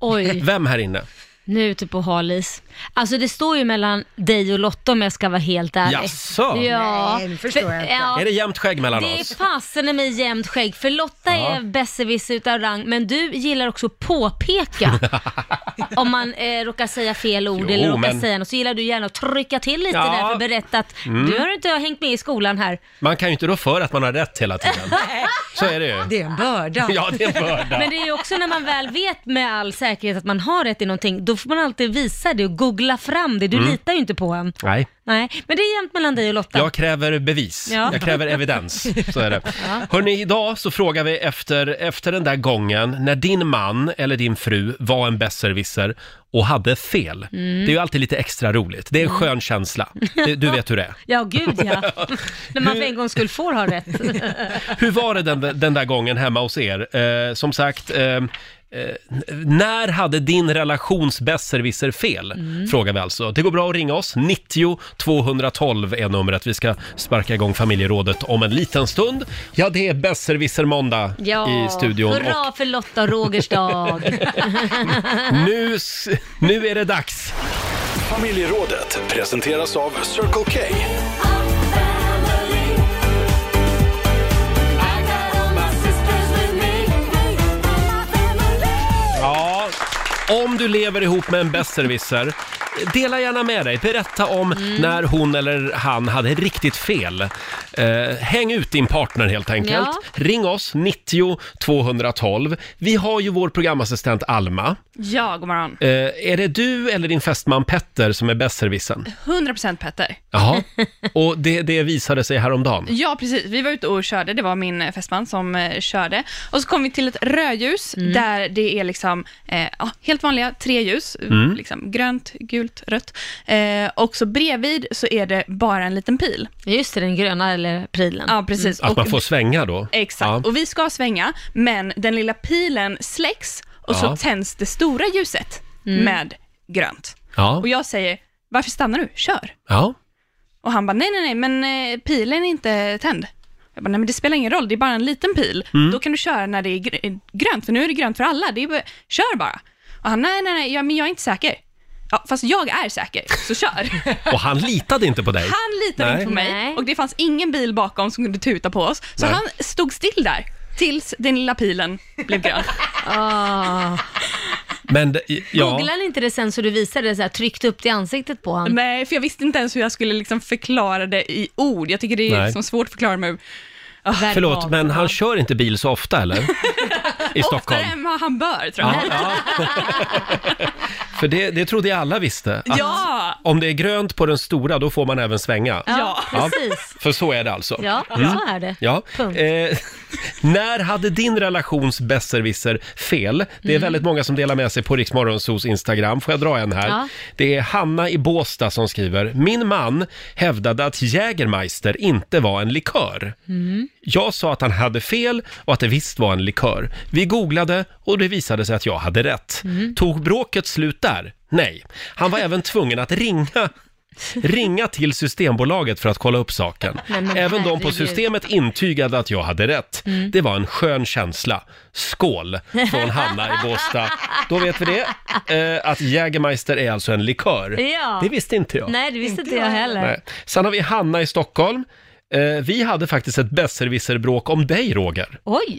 Speaker 2: Oj,
Speaker 1: Vem här inne?
Speaker 2: nu är jag ute på halis. Alltså det står ju mellan dig och Lotta om jag ska vara helt ärlig.
Speaker 1: Jaså?
Speaker 2: Ja.
Speaker 3: Nej, det förstår jag inte.
Speaker 2: Ja,
Speaker 1: Är det jämnt skägg mellan
Speaker 2: det är
Speaker 1: oss?
Speaker 2: fasen i mig jämnt skägg, för Lotta är besserwisser utav rang, men du gillar också att påpeka
Speaker 1: [LAUGHS]
Speaker 2: om man eh, råkar säga fel ord
Speaker 1: Jo,
Speaker 2: eller råkar
Speaker 1: men-
Speaker 2: säga något, så gillar du gärna att trycka till lite
Speaker 1: Ja. Mm.
Speaker 2: där för att berätta att du har inte hängt med i skolan här.
Speaker 1: Man kan ju inte rå för att man har rätt hela tiden. Så är det ju.
Speaker 3: Det är en börda.
Speaker 1: Ja, det är en börda.
Speaker 2: Men det är ju också när man väl vet med all säkerhet att man har rätt i någonting, då får man alltid visa det och googla fram det. Du litar ju inte på en.
Speaker 1: Nej.
Speaker 2: Nej, men det är jämnt mellan dig och Lotta.
Speaker 1: Mm. Jag kräver bevis.
Speaker 2: Ja.
Speaker 1: Jag kräver evidens. Så är det. Hörrni, idag så frågar vi efter, efter den där gången när din man eller din fru var en besserwisser och hade fel. Det är ju alltid lite extra roligt. Det är en skön känsla. Det- Du vet hur det är.
Speaker 2: Ja, gud
Speaker 1: [LAUGHS]
Speaker 2: ja. när man för en gångs skull får ha rätt.
Speaker 1: Hur var det den, den där gången hemma hos er? Eh, som sagt, eh, eh, när hade din relations besserwisser fel?
Speaker 2: Mm.
Speaker 1: Frågar vi alltså. Det går bra att ringa oss. 90 212 är numret. Vi ska sparka igång familjerådet om en liten stund. Ja, det är besserwisser-måndag
Speaker 2: Ja,
Speaker 1: i studion.
Speaker 2: hurra för Lotta och Rogers dag.
Speaker 1: Och nu, s- nu är det dags!
Speaker 9: Familjerådet presenteras av Circle K.
Speaker 1: Ja, om du lever ihop med en besserwisser, dela gärna med dig. Berätta om
Speaker 8: Mm.
Speaker 1: när hon eller han hade riktigt fel. Eh, häng ut din partner helt enkelt.
Speaker 2: Ja.
Speaker 1: Ring oss, 90 212. Vi har ju vår programassistent Alma.
Speaker 8: Ja, god morgon.
Speaker 1: Eh, är det du eller din fästman Petter som är besserwissern?
Speaker 8: 100% Petter.
Speaker 1: Jaha, och det, det visade sig häromdagen.
Speaker 8: Ja, precis. Vi var ute och körde. Det var min eh, fästman som eh, körde. Och så kom vi till ett Mm. Mm. rödljus där det är liksom eh, ja, helt vanliga tre ljus. Liksom, grönt, gult, gult, rött. Eh, och så bredvid så är det bara en liten pil.
Speaker 2: Just det, den gröna eller prylen.
Speaker 8: Ja, precis.
Speaker 1: Att
Speaker 8: Och-
Speaker 1: man får svänga då?
Speaker 8: Exakt,
Speaker 1: Ja.
Speaker 8: och vi ska svänga, men den lilla pilen släcks och
Speaker 1: Ja.
Speaker 8: så tänds det stora ljuset med grönt.
Speaker 1: Ja.
Speaker 8: Och jag säger, varför stannar du? Kör!
Speaker 1: ja.
Speaker 8: Och han bara, nej, nej, nej, men eh, pilen är inte tänd. Jag bara, nej men det spelar ingen roll, det är bara en liten pil.
Speaker 1: Mm.
Speaker 8: Då kan du köra när det är gr- grönt, för nu är det grönt för alla. Det är bara, kör bara! Och han, nej, nej, nej, ja, men jag är inte säker. Ja, fast jag är säker,
Speaker 1: [LAUGHS]
Speaker 8: så kör!
Speaker 1: Och han litade inte på dig?
Speaker 8: Han litade
Speaker 1: Nej.
Speaker 8: inte på mig
Speaker 2: Nej.
Speaker 8: och det fanns ingen bil bakom som kunde tuta på oss. Så
Speaker 1: Nej.
Speaker 8: han stod still där tills den lilla pilen blev
Speaker 1: [LAUGHS]
Speaker 8: grön.
Speaker 2: Ah.
Speaker 1: Men, det- ja.
Speaker 2: Googlade inte det sen så du visade det så här, tryckte upp det i ansiktet på honom?
Speaker 8: Nej, för jag visste inte ens hur jag skulle liksom förklara det i ord. Jag tycker det är
Speaker 1: Nej.
Speaker 8: liksom svårt att förklara med
Speaker 1: Förlåt, men han kör inte bil så ofta
Speaker 2: [LAUGHS]
Speaker 1: eller? I Stockholm?
Speaker 8: oftare än vad han bör, tror jag.
Speaker 1: Ja, ja. [LAUGHS] För det, det trodde jag alla visste. att
Speaker 8: Ja.
Speaker 1: Om det är grönt på den stora, då får man även svänga.
Speaker 2: Ja, Mm.
Speaker 1: Ja,
Speaker 2: precis.
Speaker 1: För så är det alltså.
Speaker 2: Ja, så är det.
Speaker 1: Ja.
Speaker 2: Punkt.
Speaker 1: Eh, [LAUGHS] när hade din relations besserwisser fel? Det är
Speaker 2: Mm.
Speaker 1: väldigt många som delar med sig på Riksmorgonsos Instagram. Får jag dra en här?
Speaker 2: Ja.
Speaker 1: Det är Hanna i Båsta som skriver. Min man hävdade att Jägermeister inte var en likör.
Speaker 2: Mm.
Speaker 1: Jag sa att han hade fel och att det visst var en likör. Vi googlade och det visade sig att jag hade rätt.
Speaker 2: Mm.
Speaker 1: Tog bråket slut där? Nej. Han var även tvungen att
Speaker 2: [LAUGHS]
Speaker 1: ringa Ringa till Systembolaget för att kolla upp saken.
Speaker 2: Nej, men
Speaker 1: Även de på
Speaker 2: herregud.
Speaker 1: Systemet intygade att jag hade rätt.
Speaker 2: Mm.
Speaker 1: Det var en skön känsla. Skål från Hanna i Båstad. Då vet vi det. Eh, att Jägermeister är alltså en likör.
Speaker 2: Ja.
Speaker 1: Det visste inte jag.
Speaker 2: Nej, det visste inte jag heller.
Speaker 1: Nej. Sen har vi Hanna i Stockholm. Eh, vi hade faktiskt ett besserwisserbråk om dig, Roger.
Speaker 2: Oj!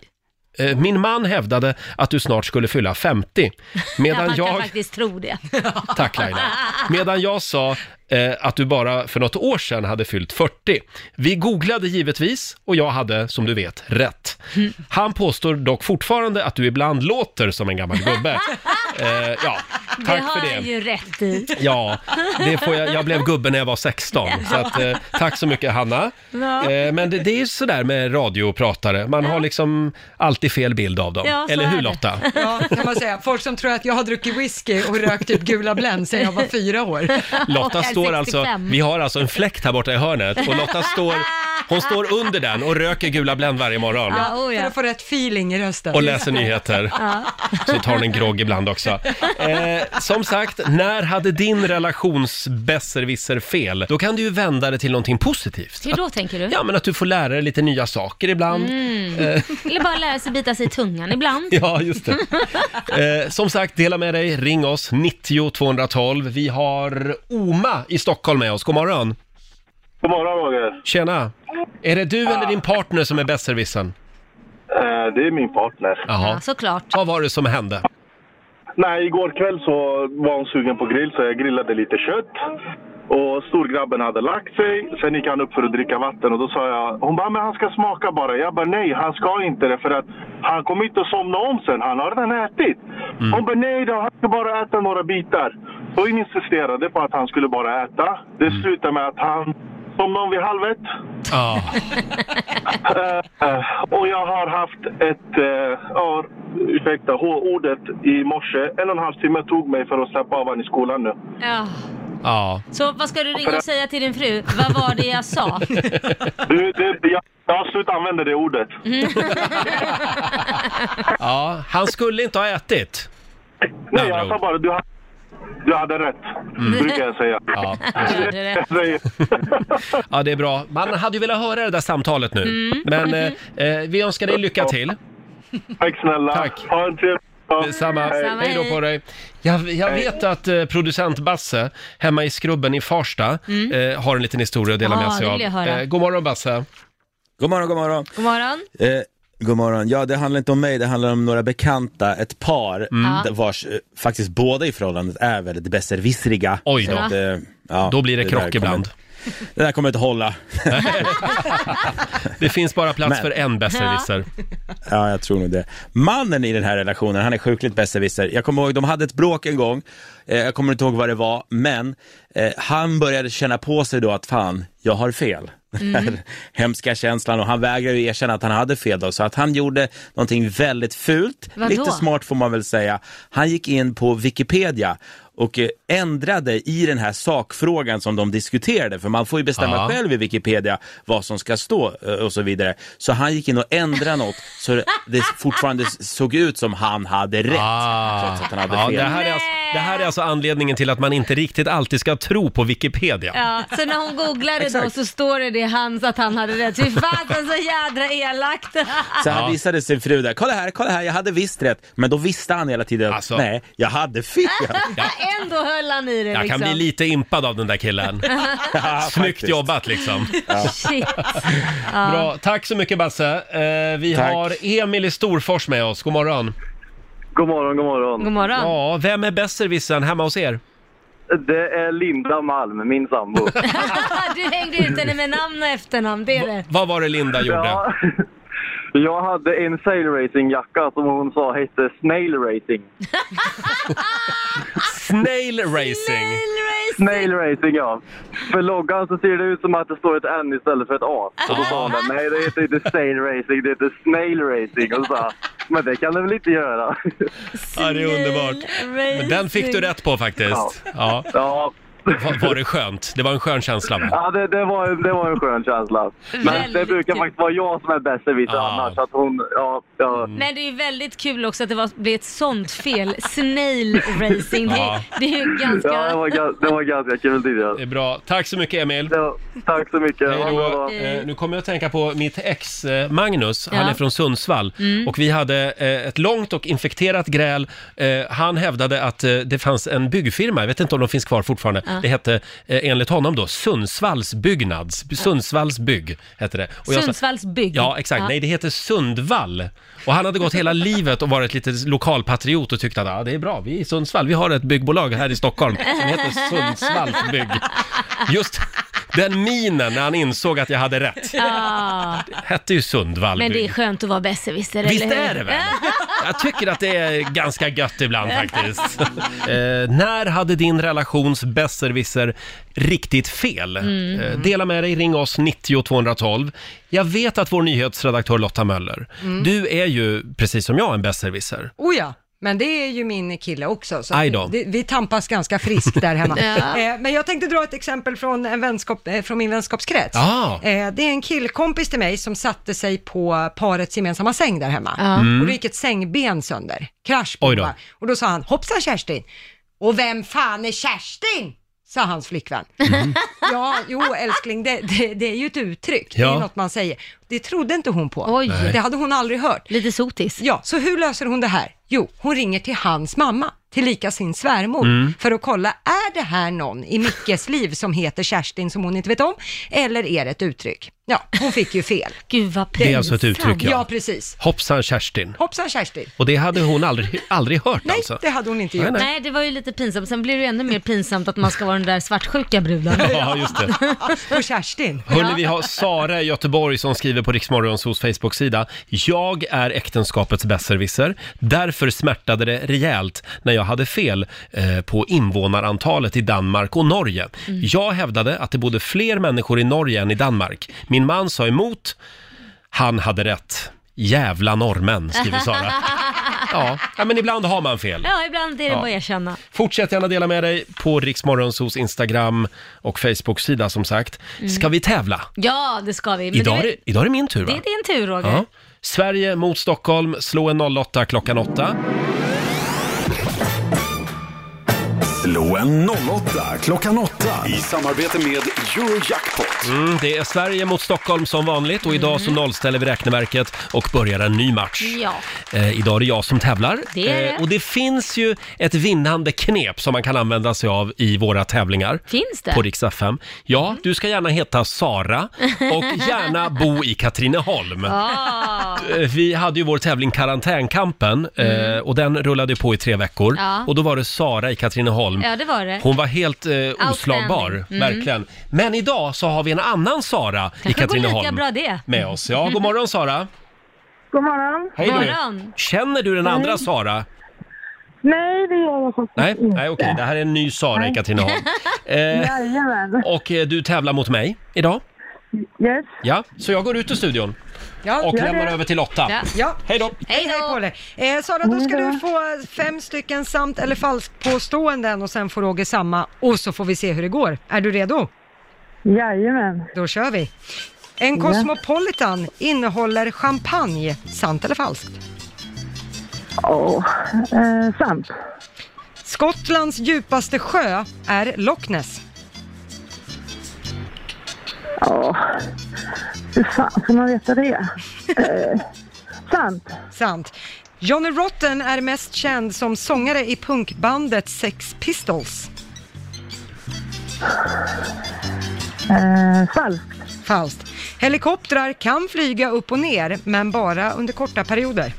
Speaker 1: Eh, min man hävdade att du snart skulle fylla 50.
Speaker 2: [LAUGHS] Ja,
Speaker 1: Medan
Speaker 2: man kan
Speaker 1: jag...
Speaker 2: faktiskt tro det.
Speaker 1: Tack Laila. Medan jag sa eh, att du bara för något år sedan hade fyllt 40. Vi googlade givetvis och jag hade, som du vet, rätt. Han påstår dock fortfarande att du ibland låter som en gammal gubbe. Eh, ja, [LAUGHS]
Speaker 2: det
Speaker 1: tack
Speaker 2: har
Speaker 1: för det.
Speaker 2: han ju rätt i.
Speaker 1: Ja, det får jag, jag blev gubbe när jag var 16. Så att, eh, tack så mycket Hanna.
Speaker 2: Ja.
Speaker 1: Eh, men det, det är ju sådär med radiopratare, man har liksom alltid fel bild av dem.
Speaker 2: Ja, så
Speaker 1: Eller
Speaker 2: är
Speaker 1: hur
Speaker 2: det.
Speaker 1: Lotta?
Speaker 3: Ja, kan man säga. Folk som tror att jag har druckit whisky och rökt typ gula Blend sedan jag var fyra år.
Speaker 1: Lotta
Speaker 2: Och är
Speaker 1: står alltså,
Speaker 2: 65.
Speaker 1: vi har alltså en fläkt här borta i hörnet och Lotta står, hon står under den och röker gula Blend varje morgon.
Speaker 2: Ja, oh
Speaker 3: För
Speaker 2: ja.
Speaker 3: att få rätt feeling i rösten.
Speaker 1: Och läser nyheter. Så tar hon en grogg ibland också. Eh, som sagt, när hade din relations besserwisser fel? Då kan du ju vända det till någonting positivt.
Speaker 2: Hur då tänker du?
Speaker 1: Ja, men att du får lära dig lite nya saker ibland.
Speaker 2: Eller bara lära sig bita sig i tungan ibland.
Speaker 1: Ja, just det. Eh, som sagt, dela med dig. Ring oss, 90 212. Vi har Oma i Stockholm med oss. God morgon.
Speaker 10: God morgon Roger.
Speaker 1: Tjena! Är det du eller din partner som är besserwissern?
Speaker 10: Eh, det är min partner.
Speaker 1: Jaha.
Speaker 2: Ja, såklart.
Speaker 1: Vad var det som hände?
Speaker 10: Nej, igår kväll så var hon sugen på grill så jag grillade lite kött. Och storgrabben hade lagt sig. Sen gick han upp för att dricka vatten och då sa jag, hon bara, men han ska smaka bara. Jag bara, nej han ska inte det för att han kommer inte att somna om sen. Han har redan ätit. Hon bara, nej då, han ska bara äta några bitar. Och hon insisterade på att han skulle bara äta. Det
Speaker 11: Mm.
Speaker 10: slutade med att han somnade om vid halv ett.
Speaker 1: Ja,
Speaker 10: Eh, Och jag har haft ett, eh, ja, ursäkta H-ordet i morse. En och en halv timme tog mig för att släppa av honom i skolan nu.
Speaker 2: Ja.
Speaker 1: ja.
Speaker 2: Så vad ska du ringa och säga till din fru? Vad var det jag
Speaker 1: [LAUGHS]
Speaker 2: sa?
Speaker 10: Du, det, jag, jag har slutat använda det ordet.
Speaker 1: ja. Han skulle inte ha ätit.
Speaker 10: Nej,
Speaker 1: andra
Speaker 10: jag sa
Speaker 1: ord.
Speaker 10: bara du, ha- du hade rätt. Brukar jag säga.
Speaker 1: Mm. Ja.
Speaker 2: Hörde det.
Speaker 10: Jag säger,
Speaker 1: ja, det är bra. Man hade ju velat höra det där samtalet nu.
Speaker 2: Mm.
Speaker 1: Men eh, eh, vi önskar dig lycka till.
Speaker 10: Tack snälla.
Speaker 1: Tack.
Speaker 10: Ha en trevlig dag.
Speaker 1: Detsamma.
Speaker 2: Detsamma,
Speaker 1: Hej då
Speaker 2: hej.
Speaker 1: på dig. Jag, jag vet att eh, producent Basse hemma i Skrubben i Farsta eh, har en liten historia att dela
Speaker 2: Mm. Ja,
Speaker 1: med sig
Speaker 2: det
Speaker 1: av.
Speaker 2: vill jag höra.
Speaker 1: Eh, god morgon Basse.
Speaker 12: God morgon, god morgon.
Speaker 2: God morgon.
Speaker 12: Eh, god morgon. Ja, det handlar inte om mig, det handlar om några bekanta, ett par
Speaker 8: Mm.
Speaker 12: d- vars eh, faktiskt båda i förhållandet är väldigt besserwissriga.
Speaker 1: Oj
Speaker 12: Så
Speaker 1: då.
Speaker 12: att, eh, ja,
Speaker 1: Då blir det
Speaker 12: där
Speaker 1: krock
Speaker 12: kommer-
Speaker 1: ibland.
Speaker 12: Det där kommer inte hålla.
Speaker 1: Det finns bara plats
Speaker 12: Men-
Speaker 1: för en besserwisser.
Speaker 12: [LAUGHS] Ja, jag tror nog det. Mannen i den här relationen, han är sjukligt besserwisser. Jag kommer ihåg, de hade ett bråk en gång. Eh, jag kommer inte ihåg vad det var, men eh, han började känna på sig då att fan, jag har fel. Den här [LAUGHS] hemska känslan och han vägrade ju erkänna att han hade fel då, så att han gjorde någonting väldigt fult.
Speaker 2: Vadå?
Speaker 12: Lite smart får man väl säga. Han gick in på Wikipedia och eh, ändrade i den här sakfrågan som de diskuterade. För man får ju bestämma
Speaker 7: Ja.
Speaker 12: själv i Wikipedia vad som ska stå eh, och så vidare. Så han gick in och ändrade något så det- det fortfarande såg ut som han hade rätt. Trots att han hade
Speaker 1: Ah. Ja,
Speaker 12: fel.
Speaker 1: det, här är alltså, det här är alltså anledningen till att man inte riktigt alltid ska tro på Wikipedia.
Speaker 2: Ja, så när hon googlar det då
Speaker 1: Exakt.
Speaker 2: så står det det hans att han hade rätt. Fy fasen så jädra elakt.
Speaker 12: Så han visade sin fru där, kolla här, kolla här, jag hade visst rätt. Men då visste han hela tiden,
Speaker 1: Alltså.
Speaker 12: nej, jag hade fel.
Speaker 1: [LAUGHS]
Speaker 2: Ändå höll han i det
Speaker 1: Jag kan
Speaker 2: liksom.
Speaker 1: bli lite impad av den där
Speaker 2: [LAUGHS]
Speaker 1: killen. Snyggt jobbat liksom.
Speaker 2: Shit. Ja.
Speaker 1: Bra, tack så mycket Basse. Eh, vi
Speaker 11: Tack.
Speaker 1: har Emil i Storfors med oss, god morgon.
Speaker 11: God morgon, god morgon.
Speaker 2: God morgon.
Speaker 1: Ja, vem är besserwissern hemma hos er?
Speaker 11: Det är Linda Malm, min sambo.
Speaker 2: Du hängde ut henne med namn och efternamn, det är det.
Speaker 1: Vad var det Linda gjorde?
Speaker 11: Ja. Jag hade en sailracingjacka som hon sa hette Snail Racing.
Speaker 1: Snail Racing?
Speaker 11: Snail Racing, ja. För loggan så ser det ut som att det står ett N istället för ett A. Och då sa hon där, nej det heter inte Snail Racing, det heter Snail Racing. Och så sa jag, men det kan det väl inte göra. [LAUGHS]
Speaker 1: Ja, det är underbart. Men den fick du rätt på faktiskt. Ja. Var, var det skönt? Det var en skön känsla va?
Speaker 11: Ja, det, det, var, det var en skön känsla. Men det brukar faktiskt vara jag som är besserwisser
Speaker 1: Ja.
Speaker 11: annars. så Att hon, ja, ja.
Speaker 2: Men det är ju väldigt kul också att det var, blev ett sånt fel. Snail racing, det,
Speaker 1: Ja.
Speaker 2: det är ju ganska...
Speaker 11: Ja, det var, ga- det var ganska kul tidigare.
Speaker 1: Det är bra. Tack så mycket Emil.
Speaker 11: tack så mycket.
Speaker 1: Hej
Speaker 11: Ha en
Speaker 1: då.
Speaker 11: bra dag.
Speaker 1: Eh, nu kommer jag att tänka på mitt ex eh, Magnus, han
Speaker 11: Ja.
Speaker 1: är från Sundsvall.
Speaker 11: Mm.
Speaker 1: Och vi hade eh, ett långt och infekterat gräl. Eh, han hävdade att eh, det fanns en byggfirma, jag vet inte om de finns kvar fortfarande.
Speaker 2: Ja.
Speaker 1: Det hette eh, enligt honom då Sundsvalls byggnads, Sundsvalls bygg hette det. Och jag sa-
Speaker 2: Sundsvalls bygg.
Speaker 1: Ja, exakt. Nej, det heter Sundvall. Och han hade gått
Speaker 2: [LAUGHS]
Speaker 1: hela livet och varit lite lokalpatriot och tyckte att ah, det är bra, vi är i Sundsvall, vi har ett byggbolag här i Stockholm som heter Sundsvalls bygg. Just den minen när han insåg att jag hade rätt.
Speaker 2: Ja.
Speaker 1: Hette ju Sundvall
Speaker 2: Men det är
Speaker 1: bygg.
Speaker 2: skönt att vara besserwisser,
Speaker 1: Visst
Speaker 2: eller hur?
Speaker 1: är det väl? Jag tycker att det är ganska gött ibland faktiskt. Eh, när hade din relations besserwisser riktigt fel?
Speaker 2: Mm.
Speaker 1: Eh, dela med dig, ring oss 90 212. Jag vet att vår nyhetsredaktör Lotta Möller,
Speaker 3: Mm.
Speaker 1: du är ju precis som jag en besserwisser.
Speaker 3: Oh ja, men det är ju min kille också. Så
Speaker 1: Aj då.
Speaker 3: att det, vi tampas ganska friskt där hemma.
Speaker 2: [LAUGHS] Ja.
Speaker 3: eh, men jag tänkte dra ett exempel från, en vänskap, eh, från min vänskapskrets.
Speaker 1: Ah.
Speaker 3: Eh, det är en killkompis till mig som satte sig på parets gemensamma säng där hemma.
Speaker 2: Ja. Mm.
Speaker 3: Och då gick ett sängben sönder. Krasch
Speaker 2: Oj då.
Speaker 3: Och då sa han, hoppsan Kerstin. Och vem fan är Kerstin? sa hans flickvän.
Speaker 2: Mm.
Speaker 3: [LAUGHS] Ja, jo älskling, det, det, det är ju ett uttryck. Det
Speaker 2: Ja.
Speaker 3: är något man säger. Det trodde inte hon på.
Speaker 2: Oj. Nej.
Speaker 3: Det hade hon aldrig hört.
Speaker 2: Lite sotis.
Speaker 3: Ja, så hur löser hon det här? Jo, hon ringer till hans mamma, tillika sin svärmor,
Speaker 2: Mm.
Speaker 3: för att kolla, är det här någon i Mickes liv som heter Kerstin som hon inte vet om, eller är det ett uttryck? Ja, hon fick ju fel.
Speaker 2: Gud vad
Speaker 1: Det är alltså ett uttryck, ja.
Speaker 3: Ja, precis.
Speaker 1: Hoppsan Kerstin.
Speaker 3: Hoppsan Kerstin.
Speaker 1: Och det hade hon aldrig, aldrig hört
Speaker 3: Nej,
Speaker 1: alltså?
Speaker 3: det hade hon inte
Speaker 1: Nej,
Speaker 3: gjort.
Speaker 1: nej.
Speaker 2: Nej, det var ju lite pinsamt. Sen blir det ju ännu mer pinsamt att man ska vara den där svartsjuka [LAUGHS] bruden.
Speaker 1: Ja, just det.
Speaker 3: Och Kerstin.
Speaker 1: Hörni, vi har Sara i Göteborg som skriver på Riksmorgonsos Facebook-sida. Jag är äktenskapets besserwisser. Därför smärtade det rejält när jag hade fel eh, på invånarantalet i Danmark och Norge. Jag hävdade att det bodde fler människor i Norge än i Danmark. Min man sa emot. Han hade rätt. Jävla norrmän, skriver Sara. Ja, ja, men ibland har man fel.
Speaker 2: Ja, ibland är det
Speaker 1: Ja.
Speaker 2: bara att erkänna.
Speaker 1: Fortsätt gärna dela med dig på Riksmorgonsos Instagram och Facebook-sida som sagt. Ska vi tävla?
Speaker 2: Ja, det ska vi. Men
Speaker 1: Idag är,
Speaker 2: du-
Speaker 1: det- idag är det min tur va?
Speaker 2: Det är din tur, Roger.
Speaker 1: Ja. Sverige mot Stockholm, slå en 08 klockan 8.
Speaker 9: Slå en 08 klockan 8 i samarbete med Eurojackpot.
Speaker 1: Mm, det är Sverige mot Stockholm som vanligt och idag så nollställer vi räkneverket och börjar en ny match.
Speaker 2: Mhm. Ja.
Speaker 1: Eh, idag är det jag som tävlar. Eh,
Speaker 2: Det är det.
Speaker 1: och det finns ju ett vinnande knep som man kan använda sig av i våra tävlingar.
Speaker 2: Finns det? Mm.
Speaker 1: På riksdag 5. Ja, du ska gärna heta Sara och
Speaker 2: [LAUGHS]
Speaker 1: gärna bo i Katrineholm.
Speaker 2: Ja.
Speaker 1: Eh, Vi hade ju vår tävling Karantänkampen eh, och den rullade ju på i tre veckor.
Speaker 2: Mm. Ja.
Speaker 1: Och då var det Sara i Katrineholm.
Speaker 2: ja, det var det.
Speaker 1: Hon var helt eh, oslagbar,
Speaker 2: Outstanding. Mm.
Speaker 1: verkligen. Men idag så har vi en annan Sara i
Speaker 2: Kanske går lika
Speaker 1: Katrineholm
Speaker 2: bra det.
Speaker 1: med oss. Ja, god morgon Sara!
Speaker 6: God morgon.
Speaker 1: Hej du! Känner du den andra
Speaker 6: Hej.
Speaker 1: Sara?
Speaker 6: Nej, det gör jag faktiskt
Speaker 1: Nej,
Speaker 6: inte.
Speaker 1: nej okej, det här är en ny Sara i Katrineholm. Eh,
Speaker 6: Jajamän.
Speaker 1: och eh, du tävlar mot mig idag.
Speaker 6: Yes.
Speaker 1: Ja, så jag går ut ur studion
Speaker 3: Ja,
Speaker 1: och
Speaker 3: gör
Speaker 1: lämnar
Speaker 3: det.
Speaker 1: över till Lotta.
Speaker 3: Ja.
Speaker 1: Hej då!
Speaker 3: Hej, hej på dig! Eh, Sara, då ska du få fem stycken sant eller falskt påståenden och sen får Roger samma och så får vi se hur det går. Är du redo?
Speaker 6: Jajamän.
Speaker 3: Då kör vi! En
Speaker 6: Ja.
Speaker 3: Cosmopolitan innehåller champagne, sant eller falskt?
Speaker 6: Åh, eh, sant.
Speaker 3: Skottlands djupaste sjö är Loch Ness.
Speaker 6: Ja. Hur fan ska man veta det? Eh, sant.
Speaker 3: Sant. Johnny Rotten är mest känd som sångare i punkbandet Sex Pistols.
Speaker 6: Eh, falskt.
Speaker 3: Falskt. Helikoptrar kan flyga upp och ner, men bara under korta perioder.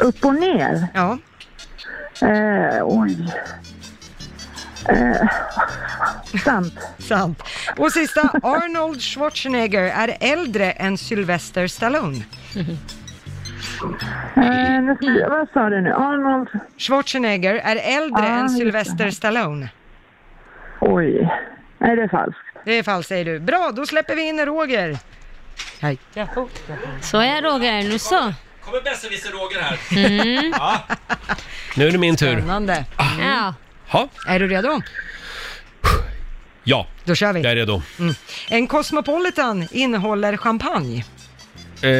Speaker 6: Upp och ner.
Speaker 3: Ja.
Speaker 6: Eh, oj. Eh, sant.
Speaker 3: Sant. Och sista, Arnold Schwarzenegger är äldre än Sylvester Stallone.
Speaker 6: Eh, nu ska vi, vad sa du nu? Arnold?
Speaker 3: Schwarzenegger är äldre
Speaker 6: Ah,
Speaker 3: än
Speaker 6: just det.
Speaker 3: Sylvester Stallone.
Speaker 6: Oj. Nej, det är falskt.
Speaker 3: Det är falskt säger du. Bra, då släpper vi in Roger. Hej.
Speaker 2: Så är Roger, nu så.
Speaker 12: Kommer besserwisser Roger här.
Speaker 2: Mm.
Speaker 1: Nu är det min tur.
Speaker 3: Spännande.
Speaker 2: Ja.
Speaker 1: Ha?
Speaker 3: Är du redo?
Speaker 1: Ja,
Speaker 3: Då kör vi.
Speaker 1: jag är redo.
Speaker 3: Mm. En Cosmopolitan innehåller champagne.
Speaker 1: Eh,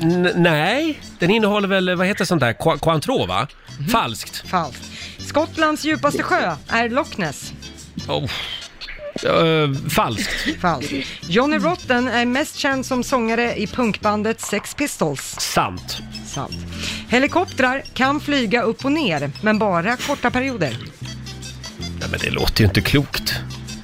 Speaker 1: n- nej, den innehåller väl, vad heter sånt där, Qua- Cointreau va?
Speaker 2: Mhm.
Speaker 1: Falskt.
Speaker 3: Falskt. Skottlands djupaste sjö är Loch Ness.
Speaker 1: Oh. Eh, falskt.
Speaker 3: Falskt. Johnny Rotten är mest känd som sångare i punkbandet Sex Pistols.
Speaker 1: Sant.
Speaker 3: Sant. Helikoptrar kan flyga upp och ner, men bara korta perioder.
Speaker 1: Nej men det låter ju inte klokt.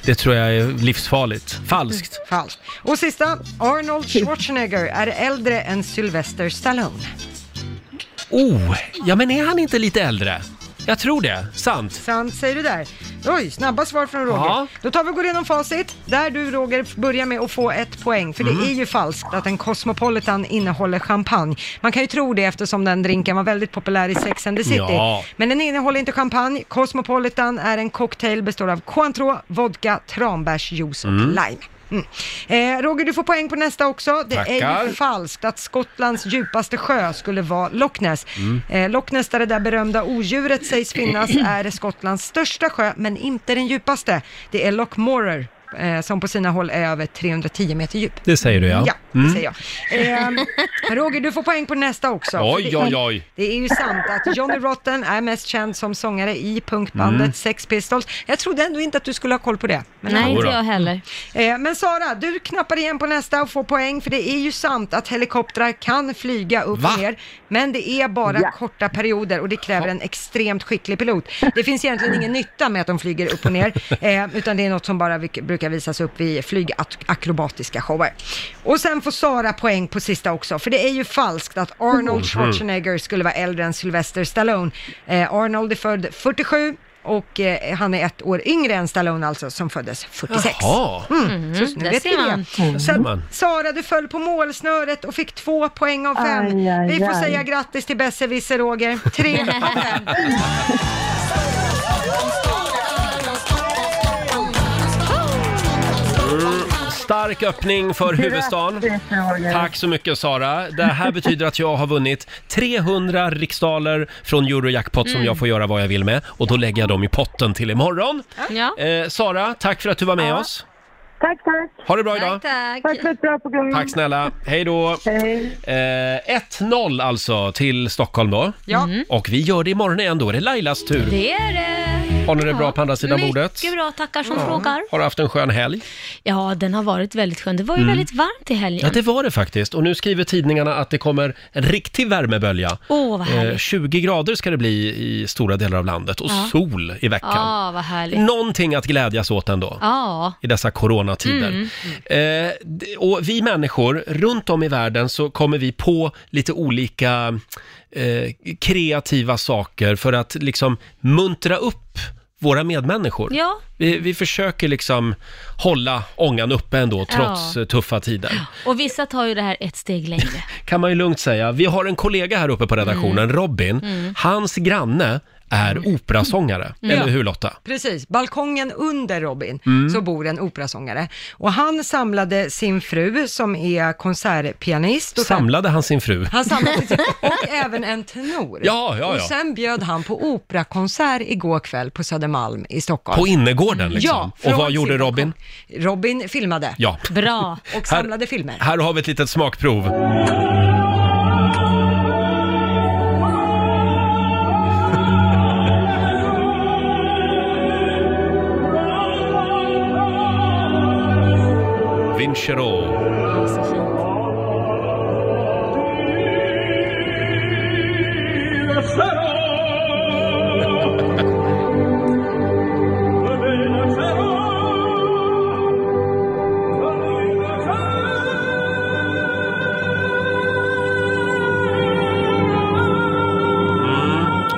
Speaker 1: Det tror jag är livsfarligt. Falskt.
Speaker 3: Falskt. Och sista, Arnold Schwarzenegger är äldre än Sylvester Stallone.
Speaker 2: Mm.
Speaker 1: Oh, ja men är han inte lite äldre? Jag tror det. Sant.
Speaker 3: Sant säger du där. Oj, snabba svar från Roger.
Speaker 1: Ja.
Speaker 3: Då tar vi och går igenom facit, där du Roger börjar med att få ett poäng. För
Speaker 1: Mm.
Speaker 3: det är ju falskt att en Cosmopolitan innehåller champagne. Man kan ju tro det eftersom den drinken var väldigt populär i Sex and the City.
Speaker 1: Ja.
Speaker 3: Men den innehåller inte champagne. Cosmopolitan är en cocktail består av Cointreau, vodka, tranbärsjuice och
Speaker 1: Mm.
Speaker 3: lime. Mm. Eh, Roger, du får poäng på nästa också. Det är
Speaker 1: Tackar.
Speaker 3: ju falskt att Skottlands djupaste sjö skulle vara Loch Ness.
Speaker 1: Mm.
Speaker 3: Eh, Loch Ness, där det där berömda odjuret
Speaker 1: [CLEARS THROAT]
Speaker 3: sägs finnas, är Skottlands största sjö, men inte den djupaste. Det är Loch Morer, eh, som på sina håll är över 310 meter djup.
Speaker 1: Det säger du ja.
Speaker 3: Ja, det
Speaker 1: Mm.
Speaker 3: säger jag. Ehm, Roger, du får poäng på nästa också.
Speaker 1: Oj,
Speaker 3: För det är-
Speaker 1: oj, oj.
Speaker 2: Mm.
Speaker 3: Det är ju sant att Johnny Rotten är mest känd som sångare i punkbandet
Speaker 1: Mm.
Speaker 3: Sex Pistols. Jag trodde ändå inte att du skulle ha koll på det.
Speaker 2: Nej, inte jag
Speaker 1: Mm.
Speaker 2: heller.
Speaker 3: Eh, Men Sara, du knappar igen på nästa och får poäng för det är ju sant att helikoptrar kan flyga upp
Speaker 1: Va?
Speaker 3: och ner. Men det är bara
Speaker 1: Ja.
Speaker 3: korta perioder och det kräver en extremt skicklig pilot. Det finns egentligen ingen nytta med att de flyger upp och ner, eh, utan det är något som bara vi- brukar visas upp vid flygakrobatiska shower. Och sen får Sara poäng på sista också, för det är ju falskt att
Speaker 1: Mhm.
Speaker 3: Arnold Schwarzenegger skulle vara äldre än Sylvester Stallone. Eh, Arnold är född 47 och eh, han är ett år yngre än Stallone alltså, som föddes 46.
Speaker 1: Jaha.
Speaker 3: Mm.
Speaker 2: Mm,
Speaker 3: så nu
Speaker 2: där
Speaker 3: vet
Speaker 2: ser
Speaker 3: vi
Speaker 2: man.
Speaker 3: det.
Speaker 1: Där
Speaker 3: Så
Speaker 1: ser man.
Speaker 3: att, Sara, du föll på målsnöret och fick två poäng av fem.
Speaker 6: Aj, aj,
Speaker 3: vi får
Speaker 6: aj.
Speaker 3: säga grattis till besserwisser Roger.
Speaker 6: [LAUGHS]
Speaker 3: Tre av fem.
Speaker 1: Mm. Stark öppning för huvudstaden.
Speaker 6: Grattis, Roger.
Speaker 1: Tack så mycket Sara. Det
Speaker 2: [LAUGHS]
Speaker 1: här betyder att jag har vunnit 300 riksdaler från Eurojackpot som
Speaker 2: Mm.
Speaker 1: jag får göra vad jag vill med och då lägger jag dem i potten till imorgon.
Speaker 2: Ja.
Speaker 1: Eh, Sara, tack för att du var med oss.
Speaker 6: Tack, tack.
Speaker 1: Ha det bra idag.
Speaker 2: Tack.
Speaker 6: Tack för ett bra program.
Speaker 2: Mm.
Speaker 1: Tack snälla. Hej då.
Speaker 6: Hej.
Speaker 1: Eh, 1-0 alltså till Stockholm då. Mm.
Speaker 3: Ja.
Speaker 1: Och vi gör det imorgon igen. Då är det Lailas tur.
Speaker 2: Det är det.
Speaker 1: Har ni det bra på andra sidan bordet?
Speaker 2: Mycket bra, tackar som frågar.
Speaker 1: Har du haft en skön helg?
Speaker 2: Ja, den har varit väldigt skön. Det var ju
Speaker 1: Mm.
Speaker 2: väldigt varmt i helgen.
Speaker 1: Ja, det var det faktiskt. Och nu skriver tidningarna att det kommer en riktig värmebölja.
Speaker 2: Åh, vad härligt.
Speaker 1: Eh, 20 grader ska det bli i stora delar av landet och
Speaker 2: Ja.
Speaker 1: sol i veckan.
Speaker 2: Ja, vad härligt.
Speaker 1: Någonting att glädjas åt ändå.
Speaker 2: Ja.
Speaker 1: i dessa coronatider.
Speaker 2: Mm.
Speaker 1: Eh, d- och vi människor, runt om i världen så kommer vi på lite olika eh, kreativa saker för att liksom muntra upp våra medmänniskor.
Speaker 2: Ja.
Speaker 1: Vi, vi försöker liksom hålla ångan uppe ändå trots
Speaker 2: Ja.
Speaker 1: eh, tuffa tider.
Speaker 2: Och vissa tar ju det här ett steg längre.
Speaker 3: Mm.
Speaker 1: Kan man ju lugnt säga. Vi har en kollega här uppe på redaktionen,
Speaker 2: Mm.
Speaker 1: Robin.
Speaker 2: Mm.
Speaker 1: Hans granne är operasångare.
Speaker 3: Mm.
Speaker 1: Eller
Speaker 3: Ja.
Speaker 1: hur Lotta?
Speaker 3: Precis, balkongen under Robin
Speaker 1: Mm.
Speaker 3: så bor en operasångare. Och han samlade sin fru som är konsertpianist. Och
Speaker 1: Samlade han sin fru?
Speaker 3: Han
Speaker 1: [LAUGHS]
Speaker 3: samlade sin, och även en tenor.
Speaker 1: Ja, ja,
Speaker 3: Och
Speaker 1: ja.
Speaker 3: sen bjöd han på operakonsert igår kväll på Södermalm i Stockholm.
Speaker 1: På innergården liksom?
Speaker 3: Ja,
Speaker 1: Och vad
Speaker 3: från
Speaker 1: gjorde
Speaker 3: sin-
Speaker 1: Robin?
Speaker 3: Robin filmade.
Speaker 1: Ja.
Speaker 2: Bra.
Speaker 3: Och samlade filmer.
Speaker 1: Här har vi ett litet smakprov. [LAUGHS] Vincero.